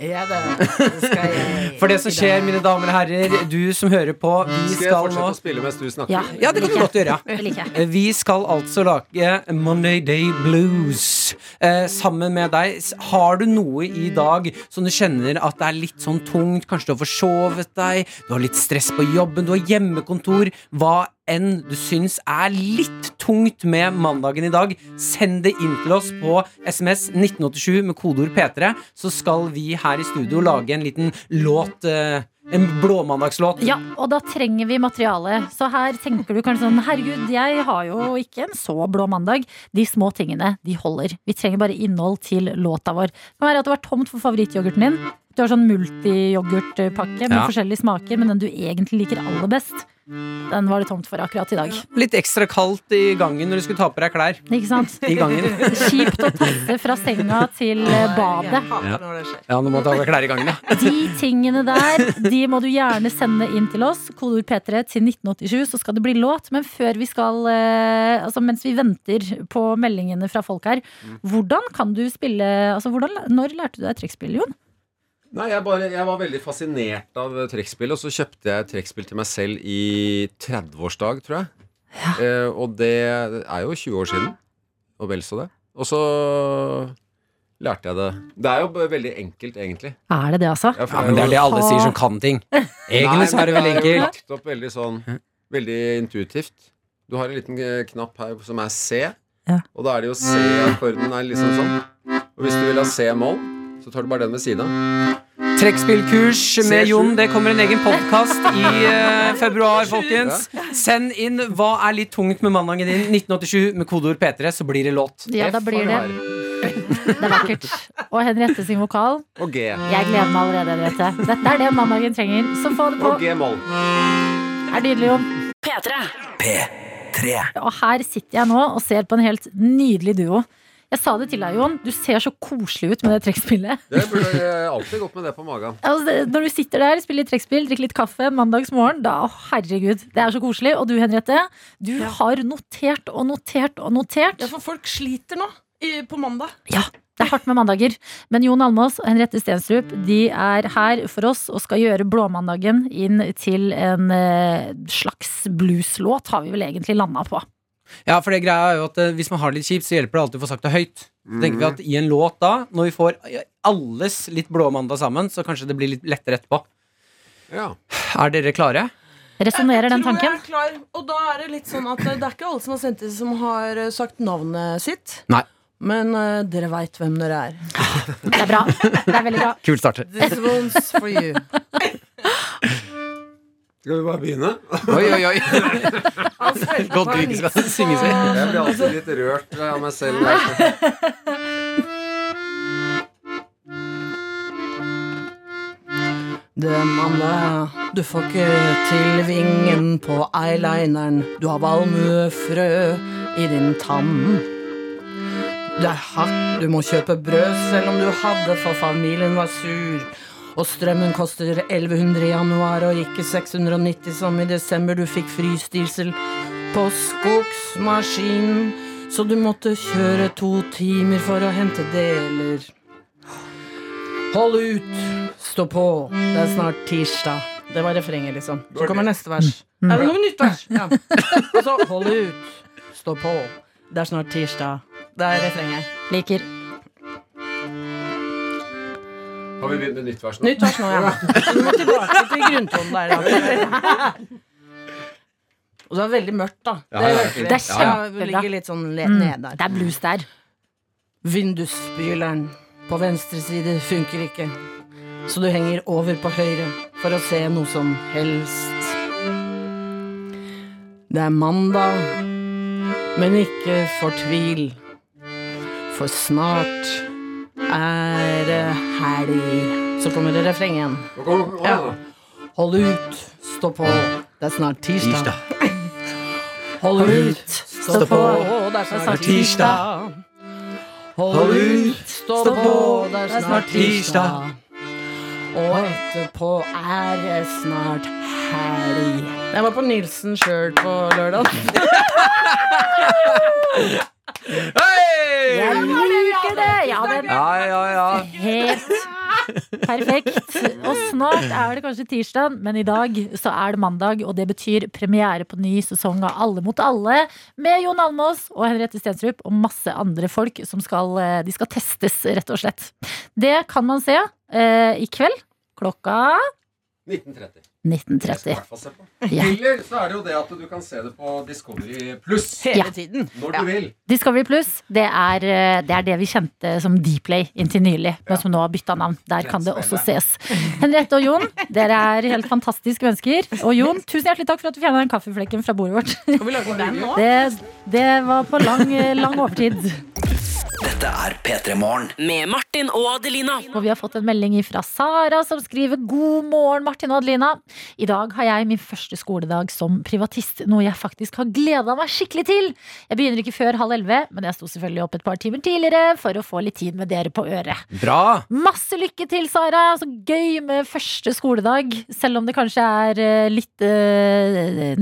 Ja, det skal jeg. For det som skjer, mine damer og herrer, du som hører på, vi Skal jeg skal fortsette nå å spille mens du snakker? Ja, ja, det kan du godt gjøre. Eh, Vi skal altså lage Monday Day Blues eh, sammen med deg. S- Har du noe i dag som du kjenner at det er litt sånn tungt? Kanskje du har forsovet deg, du har litt stress på jobben, du har hjemmekontor. Hva enn du syns er litt tungt med mandagen i dag, send det inn til oss på SMS 1987 med kodeord P3, så skal vi her i studio lage en liten låt. Eh, en blåmandagslåt. Ja, og da trenger vi materiale. Så her tenker du kanskje sånn Herregud, jeg har jo ikke en så blå mandag. De små tingene, de holder. Vi trenger bare innhold til låta vår. Det kan være at det var tomt for favorittyoghurten din. Du har sånn multiyoghurtpakke med Ja. forskjellige smaker, men den du egentlig liker aller best, den var det tomt for akkurat i dag. Litt ekstra kaldt i gangen når du skulle ta på deg klær. Ikke sant? I gangen. Kjipt å tasse fra senga til eh, badet. Ja, ja nå må du ta på deg klær i gangen, ja. De tingene der de må du gjerne sende inn til oss. Kodeord P3 til 1987, så skal det bli låt. Men før vi skal eh, Altså mens vi venter på meldingene fra folk her, hvordan kan du spille Altså hvordan, Når lærte du deg trekkspill, Jon? Nei, jeg, bare, jeg var veldig fascinert av trekkspill, og så kjøpte jeg trekkspill til meg selv i 30-årsdag, tror jeg. Eh, og det er jo 20 år siden, og vel så det. Og så lærte jeg det. Det er jo b- veldig enkelt, egentlig. Er det det, altså? Ja, for Ja, men det er det alle sier som kan ting. Egentlig så er det Nei, men vel jo enkelt. lagt opp veldig sånn Veldig intuitivt. Du har en liten eh, knapp her som er C, og da er det jo C-akkorden er liksom sånn. Og hvis du vil ha C-moll, så tar du bare den ved siden av. Trekkspillkurs med C7. Jon. Det kommer en egen podkast i eh, februar, folkens. Send inn 'Hva er litt tungt med mandagen din?' 1987 med kodeord P3, så blir det låt. Ja, da blir det Det er vakkert. Og Henriette sin vokal. Og G. Jeg gleder meg allerede, Henriette. Dette er det mandagen trenger. Så få det på. Og G-moll. Det er nydelig, Jon. P3. Og her sitter jeg nå og ser på en helt nydelig duo. Jeg sa det til deg, Jon. Du ser så koselig ut med det trekkspillet. Det burde jeg alltid gått med det på magen. Altså, det- når du sitter der, spiller litt trekkspill, drikker litt kaffe en mandagsmorgen, da å, herregud, det er så koselig. Og du, Henriette, du har notert og notert og notert. Ja, for folk sliter nå i, på mandag. Det er hardt med mandager. Men Jon Almås og Henriette Stenstrup de er her for oss og skal gjøre blåmandagen inn til en eh, slags blueslåt, har vi vel egentlig landa på. Ja, for det greia er jo at eh, Hvis man har det litt kjipt, så hjelper det alltid å få sagt det Mhm. høyt. Så tenker vi at i en låt da, når vi får eh, alles litt blåmandag sammen, så kanskje det blir litt lettere etterpå. Er dere klare? Resonnerer den Tror jeg tanken? er klar, og da er det litt sånn at eh, det er ikke alle som har sendt det, som har eh, sagt navnet sitt. Nei. Men eh, dere veit hvem dere er. Det er bra. Det er veldig bra. Kult starte. This one's for you. Skal vi bare begynne? Oi, oi, oi. Godt du ikke skal synge selv. Jeg blir alltid litt rørt eh, av meg selv. altså. Det er mandag. Du får ikke til vingen på eyelineren. Du har valmuefrø i din tann. Det er hardt, du må kjøpe brød selv om du hadde, for familien var sur. Og strømmen koster 1100 i januar og ikke 690 som i desember. Du fikk frysdiesel på skogsmaskinen, så du måtte kjøre to timer for å hente deler. Hold ut, stå på, det er snart tirsdag. Det var refrenget, liksom. Så kommer neste vers. Mm. Nei, det kommer nytt vers. Ja. Og så hold ut, stå på, det er snart tirsdag. Det er refrenget. Liker. Har vi begynt med nytt vers nå? Nytt vers nå, ja. Så Du må tilbake til grunntonen der. Da. Og det er veldig mørkt, da. Ja, ja, ja. hørte vi. Det er Ja, kjempebra. vi ligger litt sånn le- Mm, ned der. Det er blues der. Vindusspyleren på venstre side funker ikke, så du henger over på høyre for å se noe som helst. Det er mandag, men ikke fortvil. For snart er det helg. Så kommer det refreng igjen. Ja. Hold ut, stå på. Det er snart tirsdag. Hold ut, stå på. Det er snart tirsdag. Hold ut, stå på. Det er snart tirsdag. Og etterpå er det snart helg. Jeg var på Nilsen sjøl på lørdag. Jeg liker det! Ja, det Ja, ja, ja. Helt perfekt. Og snart er det kanskje tirsdag, men i dag så er det mandag. Og det betyr premiere på ny sesong av Alle mot alle med Jon Almås og Henriette Stensrup og masse andre folk som skal, eh, de skal testes, rett og slett. Det kan man se eh, i kveld klokka 1930. 19.30. Ja. Eller så er det jo det at du kan se det på Discovery Pluss. Hele tiden. Når du vil. Discovery Pluss det er, eh, det er det vi kjente som Dplay inntil nylig, men som nå har bytta navn. Der kan det også ses. Henriette og Jon, dere er helt fantastiske mennesker. Og Jon, tusen hjertelig takk for at du fjerna den kaffeflekken fra bordet vårt. Skal vi lage band nå? Det, det var på lang, eh, lang overtid. Dette er P3 Morgen. Med Martin og Adelina. Og vi har fått en melding fra Sara som skriver God morgen, Martin og Adelina. I dag har jeg min første skoledag som privatist, noe jeg faktisk har gleda meg skikkelig til. Jeg begynner ikke før halv elleve, men jeg sto selvfølgelig opp et par timer tidligere for å få litt tid med dere på øret. Bra. Masse lykke til, Sara! Så gøy med første skoledag. Selv om det kanskje er eh, litt eh,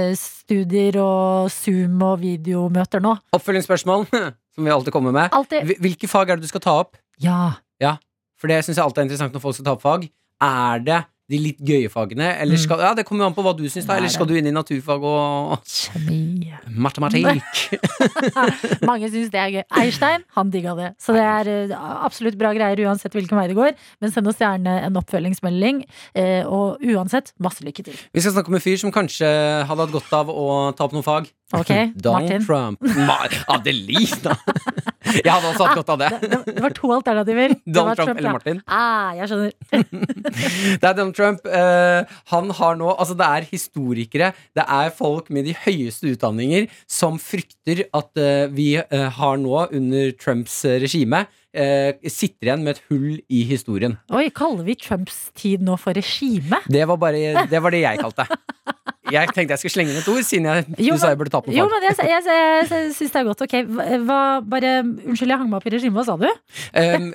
nettstudier og Zoom og videomøter nå. Oppfølgingsspørsmål som vi alltid kommer med. Hvil- Hvilke fag er det du skal ta opp? Ja. Ja, for det syns jeg alltid er interessant når folk skal ta opp fag. Er det de litt gøye fagene, Mm. eller skal Ja, det kommer jo an på hva du syns, da. Eller skal du inn i naturfag og Kjemi. Matematikk. Mange syns det er gøy. Eierstein, han digga det. Så det er eh, absolutt bra greier uansett hvilken vei det går. Men send oss gjerne en oppfølgingsmelding. eh, Og uansett, masse lykke til. Vi skal snakke om en fyr som kanskje hadde hatt godt av å ta opp noen fag. Ok, Donald Martin. Trump. Ma Adelina! Jeg hadde også hatt godt av det. Ah, Det det var to alternativer. Det Donald var Trump eller ja. Martin? Ah, jeg skjønner. Det er Donald Trump. eh, han har nå Altså, det er historikere, det er folk med de høyeste utdanninger som frykter at eh, vi eh, har nå, under Trumps eh, regime, eh, sitter igjen med et hull i historien. Oi, kaller vi Trumps tid nå for regime? Det var, bare, det, var det jeg kalte det. Jeg tenkte jeg skulle slenge inn et ord, siden jeg, du sa jeg burde ta på Jo, men fag. jeg, jeg, jeg, jeg syns det er godt. Ok, hva, hva- bare Unnskyld, jeg hang meg opp i regimet. Hva sa du? Em, Ehm,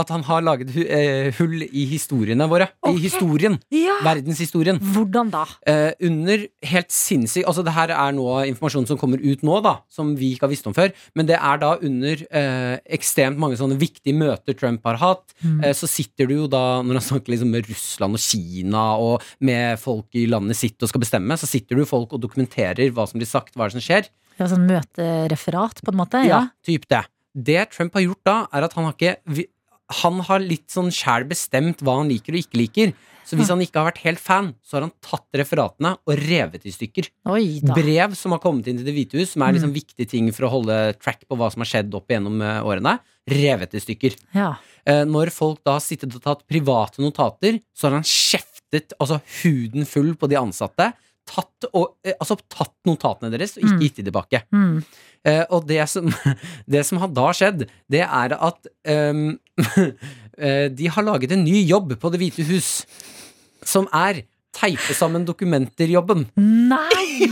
at han har laget hu- eh, hull i historiene våre. I historien. Ja. Verdenshistorien. Hvordan da? Eh, under helt sinnssykt Altså, det her er nå informasjon som kommer ut nå, da, som vi ikke har visst om før. Men det er da under eh, ekstremt mange sånne viktige møter Trump har hatt. Mm. Eh, så sitter du jo da, når han snakker liksom med Russland og Kina og med folk i landet sitt og skal bestemme, så sitter du folk og dokumenterer hva som blir sagt, hva er det som skjer. Det var sånn møtereferat, på en måte? Ja, Ja. typ det. Det Trump har gjort da, er at han har ikke vi- Han har litt sånn sjæl bestemt hva han liker og ikke liker. Så hvis han ikke har vært helt fan, så har han tatt referatene og revet i stykker. Oi da. Brev som har kommet inn til Det hvite hus, som er liksom viktige ting for å holde track på hva som har skjedd opp gjennom eh, årene, revet i stykker. Ja. Eh, Når folk da har sittet og tatt private notater, så har han kjeftet altså huden full på de ansatte. Tatt, og, eh, altså, tatt notatene deres og Mm. ikke gitt de tilbake. Mm. Eh, og det som, det som har da skjedd, det er at ehm, eh, de har laget en ny jobb på Det hvite hus, som er teipe sammen dokumenter-jobben. Nei!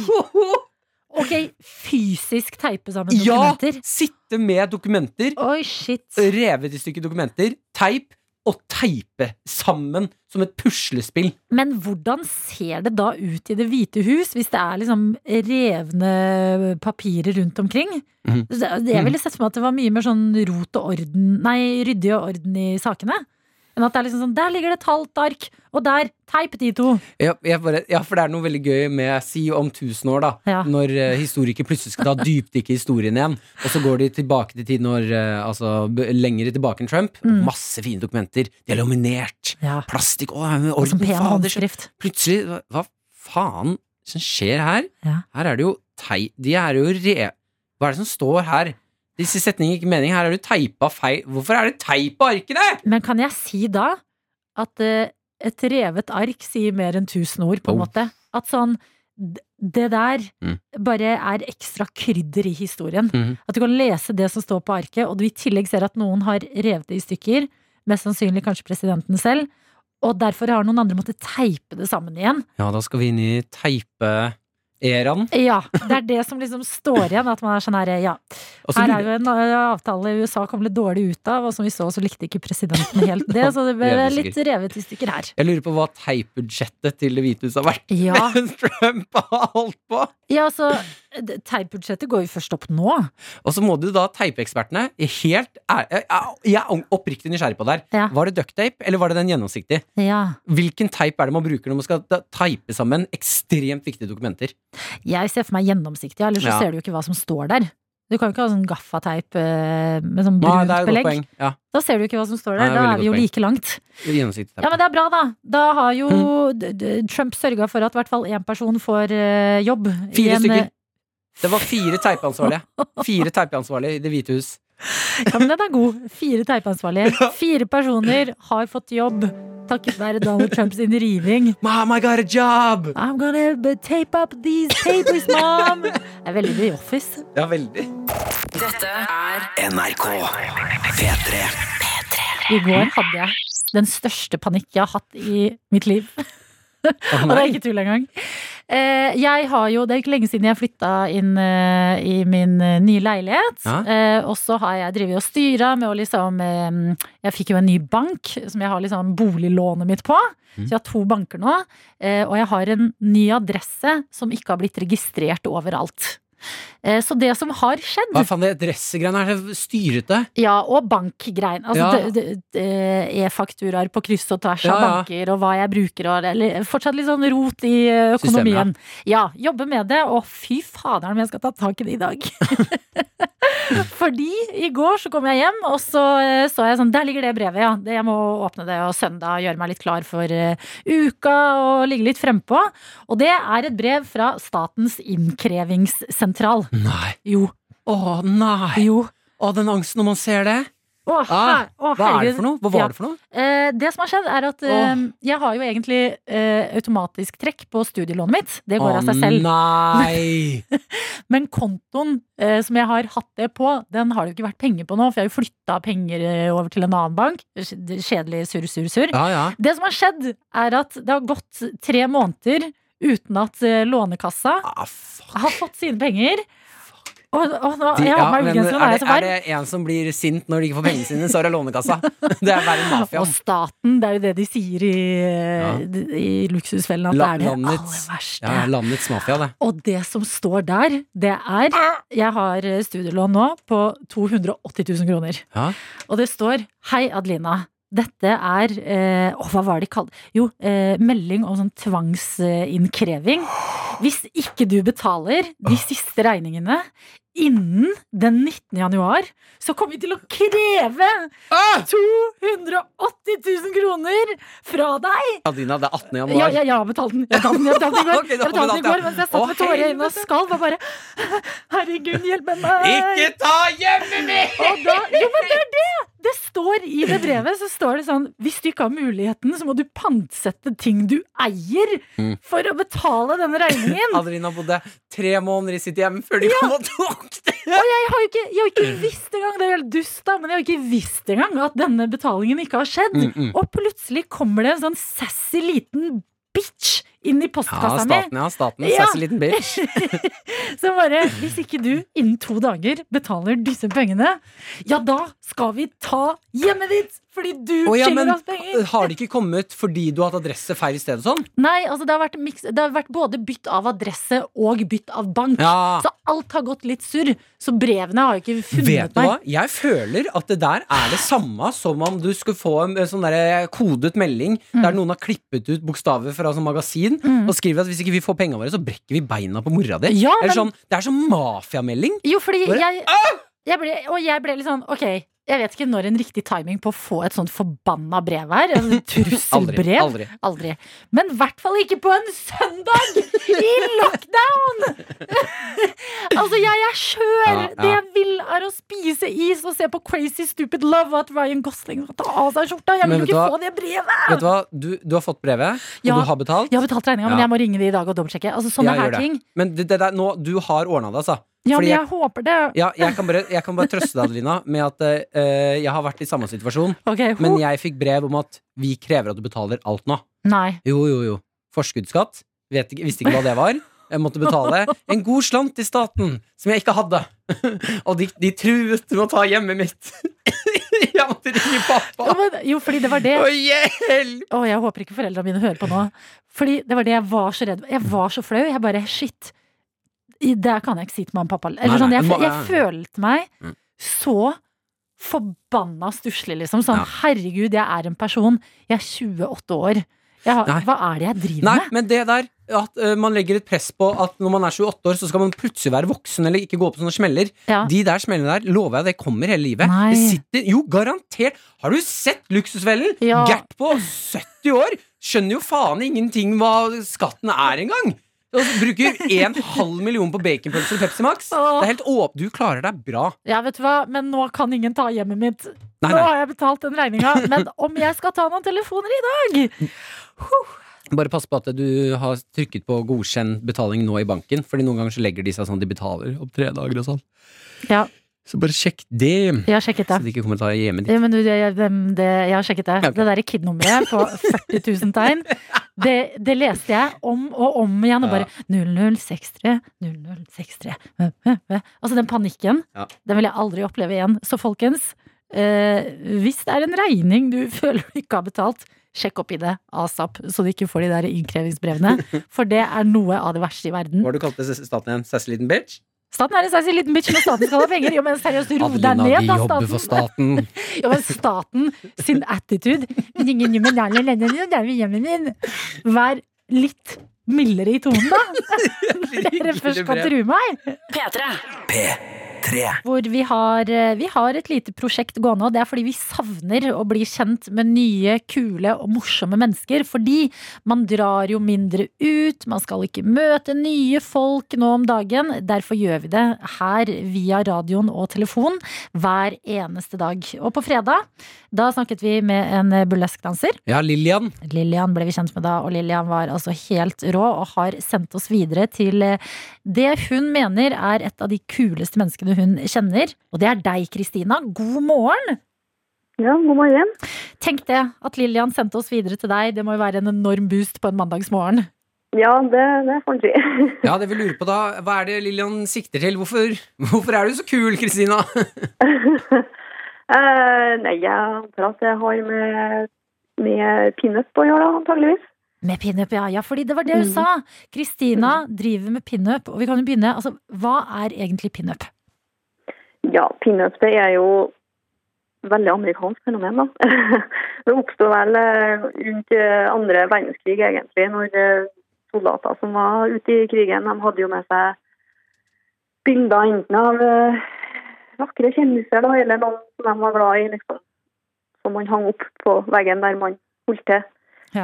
Ok, fysisk teipe sammen Ja! Eh. dokumenter? Sitte med dokumenter, Oi, shit. revet i stykker dokumenter, teip og teipe sammen som et puslespill. Men hvordan ser det da ut i Det hvite hus, hvis det er liksom revne papirer rundt omkring? Mhm. Så det- Jeg ville sett for meg at det var mye mer sånn rot og orden Nei, ryddig og orden i sakene. Enn at det er liksom sånn Der ligger det et halvt ark, og der! Teip de to! Ja, jeg bare, ja, for det er noe veldig gøy med Si om tusen år, da. Når eh, historikere plutselig skal ta dypdykke i historien igjen. Og så går de tilbake til tid når eh, Altså b- lengre tilbake enn Trump. Mm. Masse fine dokumenter. De er laminert. Plastikk å, eh, Og som orden, pen fader, så- Plutselig hva- Hva faen som skjer her? Her er det jo tei... De er jo re... Hva er det som står her? Disse setningene gir ikke mening. Her er det jo teipa feil Hvorfor er det teip på arkene?! Men kan jeg si da at eh, et revet ark sier mer enn tusen ord, på en måte? At sånn d- det der Oh. Mm. bare er ekstra krydder i historien. Mhm. At du kan lese det som står på arket, og du i tillegg ser at noen har revet det i stykker, mest sannsynlig kanskje presidenten selv, og derfor har noen andre måttet teipe det sammen igjen. Ja, da skal vi inn i teipe-eraen. Ja, det er det som liksom står igjen, at man er sånn her, ja. Og så Her lurer- er jo en eh, avtale USA kom litt dårlig ut av, og som vi så, så likte ikke presidenten helt det, så det ble Det er vi litt sikkert. revet i stykker her. Jeg lurer på hva teipbudsjettet til Det hvite huset har vært. Ja. mens Trump har holdt på. Ja, altså, d- teipbudsjettet går jo først opp nå. Og så må du da teipeekspertene helt ær- Jeg jeg er oppriktig nysgjerrig på det her. Ja. Var det ducktape, eller var det den gjennomsiktige? Ja. Hvilken teip er det man bruker når man skal da- teipe sammen ekstremt viktige dokumenter? Jeg ser for meg gjennomsiktig, ellers så Ja. ser du jo ikke hva som står der. Du kan jo ikke ha sånn gaffateip eh, med sånn Nei, brunt det er et godt belegg. poeng. Ja. Da ser du ikke hva som står Nei, der. det er Da veldig er vi godt jo poeng. like langt. Gjennomsiktig teip. Ja, men det er bra, da. Da har jo d- d- Trump sørga for at i hvert fall én person får eh, jobb. i Fire en, eh, stykker. Det var fire teipeansvarlige. Fire teipeansvarlige i Det hvite hus. Ja, men den er god. Fire teipansvarlige. Fire personer har fått jobb takket være Donald Trumps riving. Mom, I got a job! I'm gonna b- tape up these papers, mom! Det er veldig The Office. Ja, veldig. Dette er NRK P3. I går hadde jeg den største panikk jeg har hatt i mitt liv. Og det er ikke tull engang. Eh, Jeg har jo, Det er ikke lenge siden jeg flytta inn eh, i min eh, nye leilighet. Ja. Eh, Og så har jeg drevet og styra med å liksom eh, Jeg fikk jo en ny bank som jeg har liksom boliglånet mitt på. Så jeg har to banker nå. eh, Og jeg har en ny adresse som ikke har blitt registrert overalt. Eh, Så det som har skjedd Hva faen, det dressegreiene er så styrete. ja, og bankgreien. Altså Ja. d- d- d- e-fakturaer på kryss og tvers av Ja, ja. banker, og hva jeg bruker og eller, Fortsatt litt sånn rot i eh, økonomien. Systemet, ja. jobbe med det. Og fy faderen om jeg skal ta tak i det i dag. Fordi i går så kom jeg hjem, og så eh, så jeg sånn Der ligger det brevet, ja. Det, jeg må åpne det og søndag gjøre meg litt klar for eh, uka og ligge litt frempå. Og det er et brev fra Statens innkrevingssentral. Nei. Jo. Å nei! Jo. Å, den angsten når man ser det. Å, Ah, her- å, hva er det herregud. for noe? Hva var Ja. det for noe? Eh, det som har skjedd, er at eh, Åh. jeg har jo egentlig eh, automatisk trekk på studielånet mitt. Det går Å, av seg selv. Nei! Men kontoen eh, som jeg har hatt det på, den har det jo ikke vært penger på nå, for jeg har jo flytta penger eh, over til en annen bank. Kj- Kjedelig surr, surr, surr. Ja, ja. Det som har skjedd, er at det har gått tre måneder uten at eh, Lånekassa Ah, har fått sine penger. Og, og nå, De- jeg har ja, på meg men ullgenseren, er, er jeg det, så er varm? det en som blir sint når de ikke får pengene sine, så er det Lånekassa. Det er verre enn Og mafiaen. staten, det er jo det de sier i, eh, Ja. d- i Luksusfellen, at det La- er det Landets, aller verste. ja, landets mafia, det. Og det som står der, det er Jeg har eh, studielån nå på 280 000 kroner. Ja. Og det står Hei, Adelina. Dette er eh, åh, Hva var det de kalte Jo, eh, melding om sånn tvangsinnkreving. Hvis ikke du betaler de siste regningene innen den 19. januar, så kommer vi til å kreve 280 000 kroner fra deg! Adina, det er 18. januar. Ja, ja, jeg har betalt den. Jeg betalte den, jeg betalte den i går. Jeg betalte den i går Ok, da har du betalt, ja. mens jeg Å, satt med tårer i øynene og helvete. skalv og bare Herregud, hjelpe meg! Ikke ta hjemmet mitt! Og da, jo, men det er det! Det står i det brevet så står det sånn Hvis du ikke har muligheten, så må du pantsette ting du eier Mm. for å betale denne regningen. Adelina bodde tre måneder i sitt hjem før de kom og tok Og jeg har jo ikke, jeg har jo ikke visst engang, det er helt dust, da, men jeg har jo ikke visst engang at denne betalingen ikke har skjedd. Mm, mm. Og plutselig kommer det en sånn sassy liten bitch inn i Ja, postkassa mi. staten, ja. Staten. Ja. Sassy liten bitch. Så bare, hvis ikke du innen to dager betaler disse pengene, ja da skal vi ta hjemmet ditt! Fordi du Å, ja, skylder men oss penger! har de ikke kommet fordi du har hatt adresse feil i stedet og sånn? Nei, altså det har, vært miks, det har vært både bytt av adresse og bytt av bank. Ja. Så alt har gått litt surr. Så brevene har jo ikke funnet Vet du meg. hva? Jeg føler at det der er det samme som om du skulle få en sånn der kodet melding Mm. der noen har klippet ut bokstaver fra sånn magasin og skriver at hvis ikke vi får pengene våre, så brekker vi beina på mora di. Ja, Eller men- sånn, det er sånn mafiamelding. Jo, fordi Bare- jeg, jeg ble, Og jeg ble litt sånn, ok Jeg vet ikke når en riktig timing på å få et sånt forbanna brev her. Et trusselbrev. Aldri, aldri. Men i hvert fall ikke på en søndag i lockdown! altså, jeg er skjør! Ja, ja. Det jeg vil, er å spise is og se på Crazy Stupid Love og at Ryan Gosling skal ta av seg skjorta. Jeg Men vil jo vet du ikke hva? få det brevet! Vet du hva? Du, du har fått brevet, og Ja, du har betalt. Jeg har betalt regninga, men Ja. jeg må ringe de i dag og dobbeltsjekke. Altså, sånne Ja, gjør her det. ting. Men det, det der, nå, du har ordna det, altså. Ja, Fordi men jeg- jeg håper det. ja, jeg, kan bare, jeg kan bare trøste deg, Adelina, med at eh, jeg har vært i samme situasjon. Ok, ho. Men jeg fikk brev om at vi krever at du betaler alt nå. Nei. Jo, jo, jo. Forskuddsskatt. Vet ikke, visste ikke hva det var. Jeg måtte betale en god slant til staten, som jeg ikke hadde. Og de, de truet med å ta hjemmet mitt. Jeg måtte ringe pappa. Jo, men, jo, fordi det var det. Å, hjelp! Å, jeg håper ikke foreldrene mine hører på nå. Fordi det var det jeg var så redd Jeg var så flau. Jeg bare shit. I det kan jeg ikke si til mamma og pappa. Eller Nei, sånn, nei, jeg, det må- jeg følte meg Mm. så forbanna stusslig, liksom. Sånn Ja. herregud, jeg er en person. Jeg er 28 år. Jeg har, Nei. hva er det jeg driver Nei, med? men det der at eh, man legger et press på at når man er 28 år, så skal man plutselig være voksen eller ikke gå på sånne smeller. Ja. De der smellene der lover jeg det kommer hele livet. Nei. Det sitter jo garantert Har du sett Luksusfellen? Ja. Gert på 70 år skjønner jo faen ingenting hva skatten er engang. Og så bruker en halv million på baconpølser og Pepsi Max. Det er helt åp Du klarer deg bra. Ja, vet du hva, men nå kan ingen ta hjemmet mitt. Nei, Nå nei. har jeg betalt den regninga. Men om jeg skal ta noen telefoner i dag? Bare pass på at du har trykket på godkjenn betaling nå i banken, Fordi noen ganger så legger de seg sånn de betaler om tre dager og sånn. Ja, Så bare sjekk det. jeg har sjekket Så det. de ikke kommer til å ta hjemme ditt. Ja, men du, jeg, hvem det, jeg har sjekket det. Ja, ok. Det derre KID-nummeret på 40 000 tegn, det, det leste jeg om og om igjen. Og Ja. bare 0063, 0063 øh, øh, øh. Altså den panikken, Ja. den vil jeg aldri oppleve igjen. Så folkens, eh, hvis det er en regning du føler du ikke har betalt, sjekk opp i det asap, så du ikke får de der innkrevingsbrevene. For det er noe av det verste i verden. Hva har du kalt det staten igjen? Sassy liten bitch? Staten er en sassy liten bitch når staten skal ha penger. Jo, men seriøst, ro deg ned, da, staten. staten. Ja, men staten sin attitude Ingen nummer der, eller den, den, den, hjemmet min. Vær litt mildere i tonen, da. Når Dere først kan true meg. P3. Hvor vi har, eh, vi har et lite prosjekt gående, og det er fordi vi savner å bli kjent med nye, kule og morsomme mennesker. Fordi man drar jo mindre ut, man skal ikke møte nye folk nå om dagen. Derfor gjør vi det her via radioen og telefon hver eneste dag. Og på fredag, da snakket vi med en burleskdanser. Ja, Lillian. Lillian ble vi kjent med da, og Lillian var altså helt rå og har sendt oss videre til eh, det hun mener er et av de kuleste menneskene hun kjenner. Og det er deg, Kristina. God morgen! Ja, god morgen. Tenk det, at Lillian sendte oss videre til deg. Det må jo være en enorm boost på en mandagsmorgen. Ja, det, det får en si. Ja, det vi lurer på da, hva er det Lillian sikter til? Hvorfor, hvorfor er du så kul, Kristina? Eh, nei, jeg antar at det har med, med pinup å gjøre, da, antageligvis. Med pinup, ja. ja. Fordi det var det hun Mm. sa. Kristina driver med pinup, og vi kan jo begynne. Altså, hva er egentlig pinup? Ja, pinup det er jo veldig amerikansk fenomen, da. det oppsto vel eh, rundt eh, andre verdenskrig, egentlig, når eh, soldater som var ute i krigen, de hadde jo med seg bilder enten av eh, vakre kjendiser da, eller noen som de var glad i, liksom. Som man hang opp på veggen der man holdt til.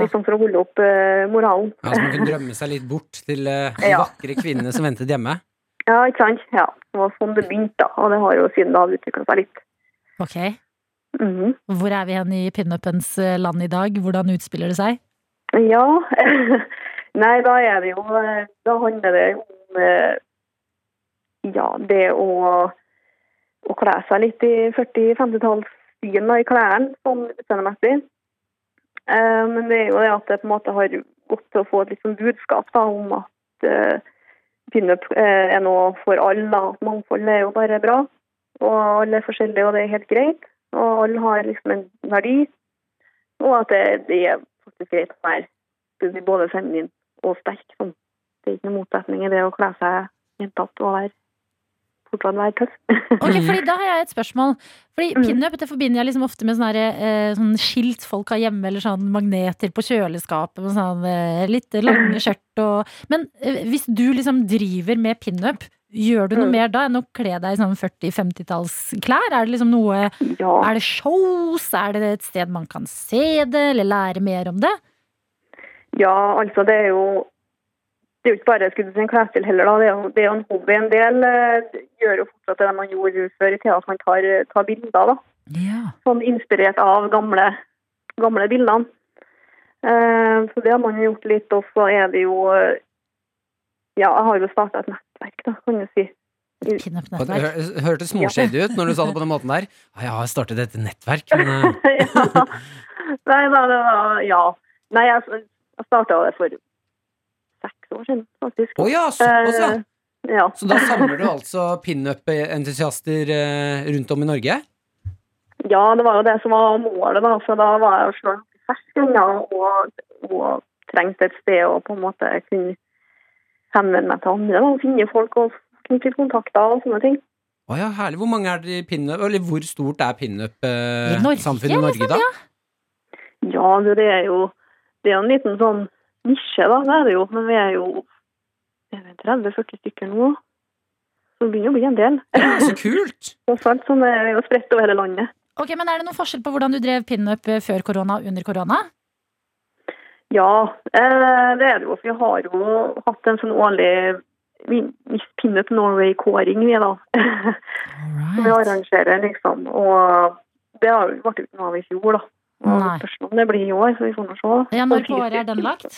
Liksom for å holde opp eh, moralen. Ja, så man kunne drømme seg litt bort til eh, de Ja. vakre kvinnene som ventet hjemme. Ja, ikke sant? Ja, det var sånn det begynte, da. Og det har jo siden da utvikla seg litt. Ok, Mhm. Hvor er vi hen i pinupens eh, land i dag? Hvordan utspiller det seg? Ja. Nei, da er det jo eh, Da handler det om eh, ja, det å, å kle seg litt i 40-50-tallsstilen da, i klærne, sånn utseendemessig. Eh, Men det er jo det at det på en måte har gått til å få et litt sånn budskap da, om at eh, pinup eh, er noe for alle. da. At mangfold er jo bare bra. Og alle er forskjellige, og det er helt greit. Og alle har liksom en verdi. Og at det, det er faktisk greit å være skal vi si, både feminin og sterk. Sånn. Det er ikke noen motsetning i det å kle seg jentete og være, fortsatt være tøff. Ok, Mm. fordi Da har jeg et spørsmål. Fordi Pinup det forbinder jeg liksom ofte med sånne, her, eh, sånn skilt folk har hjemme, eller sånn magneter på kjøleskapet. Med Mm. sånn, eh, litt lange skjørt og Men eh, hvis du liksom driver med pinup Gjør Mm. du noe mer da enn å kle deg i sånn 40-50-tallsklær? Er det liksom noe Er det shows? Er det et sted man kan se det, eller lære mer om det? Ja, altså det er jo det er jo ikke bare skulle du si, en klesstil heller, da. Det er, jo, det er jo en hobby. En del eh, gjør jo fortsatt det man gjorde før i tida, at man tar, eh, tar bilder. da. Sånn inspirert av gamle, gamle bildene. Eh, så det har man jo gjort litt. Og så er det jo eh, Ja, jeg har jo starta et nettverk, da, kan du si. I- Og Det hø- hørtes småshady ut når du sa det på den måten der. «Ah, Jeg har startet et nettverk, men eh, Nei, da, det var Ja. Nei, jeg, jeg starta det for seks år siden, faktisk. Å ja, såpass, ja. Eh, ja. Så da samler du altså pinup-entusiaster eh, rundt om i Norge? Ja, det var jo det som var målet, da. For da var jeg jo sjøl fersk ennå og, og trengte et sted å på en måte kunne henvende meg til andre da, og finne folk og knytte kontakter og sånne ting. Å ja, herlig. Hvor mange er det i pinup, eller hvor stort er I Norge, pinup-samfunnet i Norge, liksom, da? ja. Ja, du, det er jo det er jo en liten sånn nisje, da. Det er det jo. Men vi er jo er vi 30-40 stykker nå. Så det begynner å bli en del. Så kult! og sånt, som er jo spredt over hele landet. Ok, men Er det noen forskjell på hvordan du drev pinup før korona og under korona? Ja, eh, det er det jo. for Vi har jo hatt en sånn årlig Vin- Miss Pinup Norway-kåring, vi, da. Som vi arrangerer, liksom. Og det har jo- ble jo ikke noe av i fjor, da. Og Nei. Spørsmålet om det blir i år, så vi får nå se. Ja, når Og på året er den fysisk- lagt?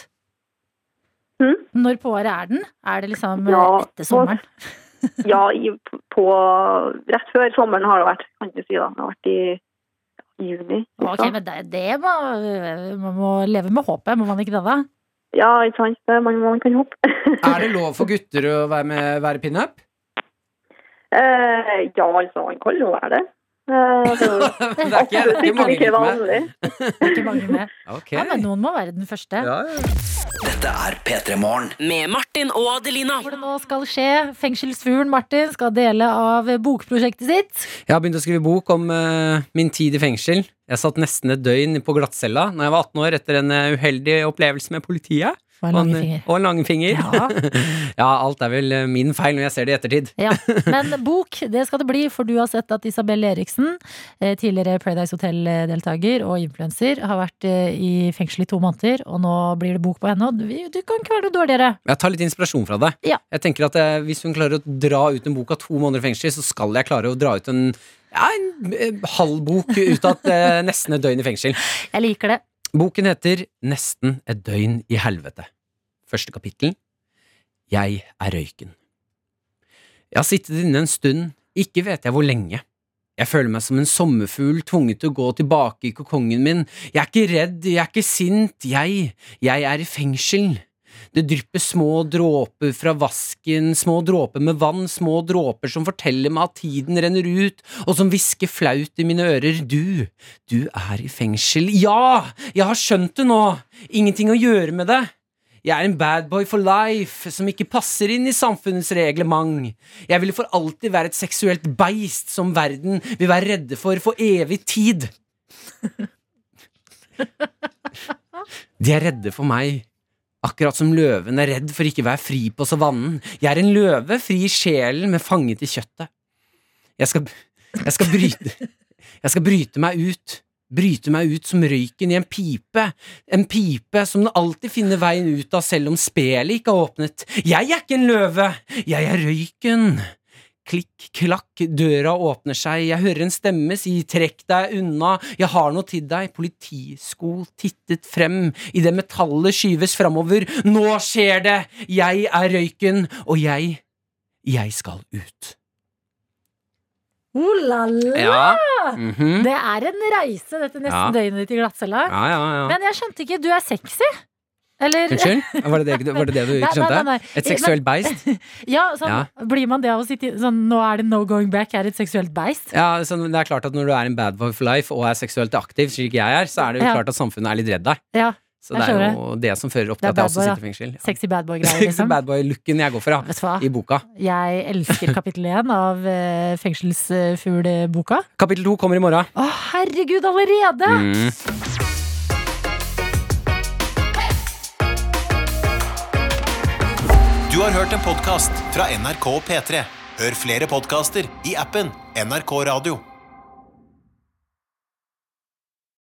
Når på året er den? Er det liksom eh, Ja, etter sommeren? Ja, i, på Rett før sommeren har det vært, kan du si. da. Det har vært i juni. Ok, liksom. men det, det må, Man må leve med håpet, må man ikke det, da? Ja, ikke sant. Det er mange man kan hoppe. Er det lov for gutter å være, med- være pinup? Eh, ja, altså, man kan jo være det. Eh, det er jo Det er ikke- det er ikke mange ikke gutter med. vanlig. Ok. Ja, men noen må være den første. Dette er P3 Morgen. Med Martin og Adelina. Hvor det nå skal skje. Fengselsfuglen Martin skal dele av bokprosjektet sitt. Jeg har begynt å skrive bok om eh, min tid i fengsel. Jeg satt nesten et døgn på glattcella da jeg var 18 år etter en eh, uheldig opplevelse med politiet. Og en langfinger. Og en langfinger. Ja. alt er vel eh, min feil når jeg ser det i ettertid. Ja, Men bok, det skal det bli, for du har sett at Isabel Eriksen, eh, tidligere Paradise Hotel-deltaker og influenser, har vært eh, i fengsel i to måneder, og nå blir det bok på henne. Og du, du kan ikke være noe dårligere. Jeg tar litt inspirasjon fra det. Ja. Jeg tenker at eh, Hvis hun klarer å dra ut en bok av to måneder i fengsel, så skal jeg klare å dra ut en, ja, en eh, halv bok ut av et, eh, nesten et døgn i fengsel. Jeg liker det. Boken heter Nesten et døgn i helvete. Første kapittel Jeg er røyken. Jeg har sittet inne en stund, ikke vet jeg hvor lenge. Jeg føler meg som en sommerfugl tvunget til å gå tilbake i kokongen min. Jeg er ikke redd, jeg er ikke sint, jeg, jeg er i fengsel. Det drypper små dråper fra vasken, små dråper med vann, små dråper som forteller meg at tiden renner ut, og som hvisker flaut i mine ører, du, du er i fengsel, ja, jeg har skjønt det nå, ingenting å gjøre med det. Jeg er en bad boy for life, som ikke passer inn i samfunnets reglement. Jeg vil for alltid være et seksuelt beist som verden vil være redde for for evig tid. De er redde for meg. Akkurat som løven er redd for ikke å være fri på savannen. Jeg er en løve, fri i sjelen, men fanget i kjøttet. Jeg skal, jeg skal bryte Jeg skal bryte meg ut. Bryte meg ut som røyken i en pipe. En pipe som den alltid finner veien ut av selv om spelet ikke har åpnet. Jeg er ikke en løve! Jeg er røyken! Klikk, klakk, døra åpner seg, jeg hører en stemme si trekk deg unna, jeg har noe til deg, politisko tittet frem, idet metallet skyves framover, nå skjer det, jeg er røyken, og jeg, jeg skal ut. Oh la la! Ja. Mhm. Mm. Det er en reise, dette nesten Ja. døgnet ditt i glattcella. Ja, ja, ja. Men jeg skjønte ikke, du er sexy? Eller Unnskyld? Var det det, var det det du ikke Nei, nei, nei, skjønte? nei. Et seksuelt Men- beist? Ja, sånn, Ja. Blir man det av å sitte i sånn, Nå er det no going back, er et seksuelt beist? Ja, så det er klart at Når du er en bad boy for life og er seksuelt aktiv, slik jeg er, så er det jo Ja. klart at samfunnet er litt redd deg. Ja, jeg Så det er skjønner. jo det som fører opp Det er til at jeg bad også boy, da. sitter i fengsel. Ja. Sexy bad boy-greier, Ikke så liksom. bad boy-looken jeg går for, ja. I boka. Jeg elsker kapittel én av uh, Fengselsfuglboka. Kapittel to kommer i morgen. Å, herregud, allerede! Mm. Du har har hørt en podkast fra NRK P3. Hør flere podkaster i appen NRK Radio.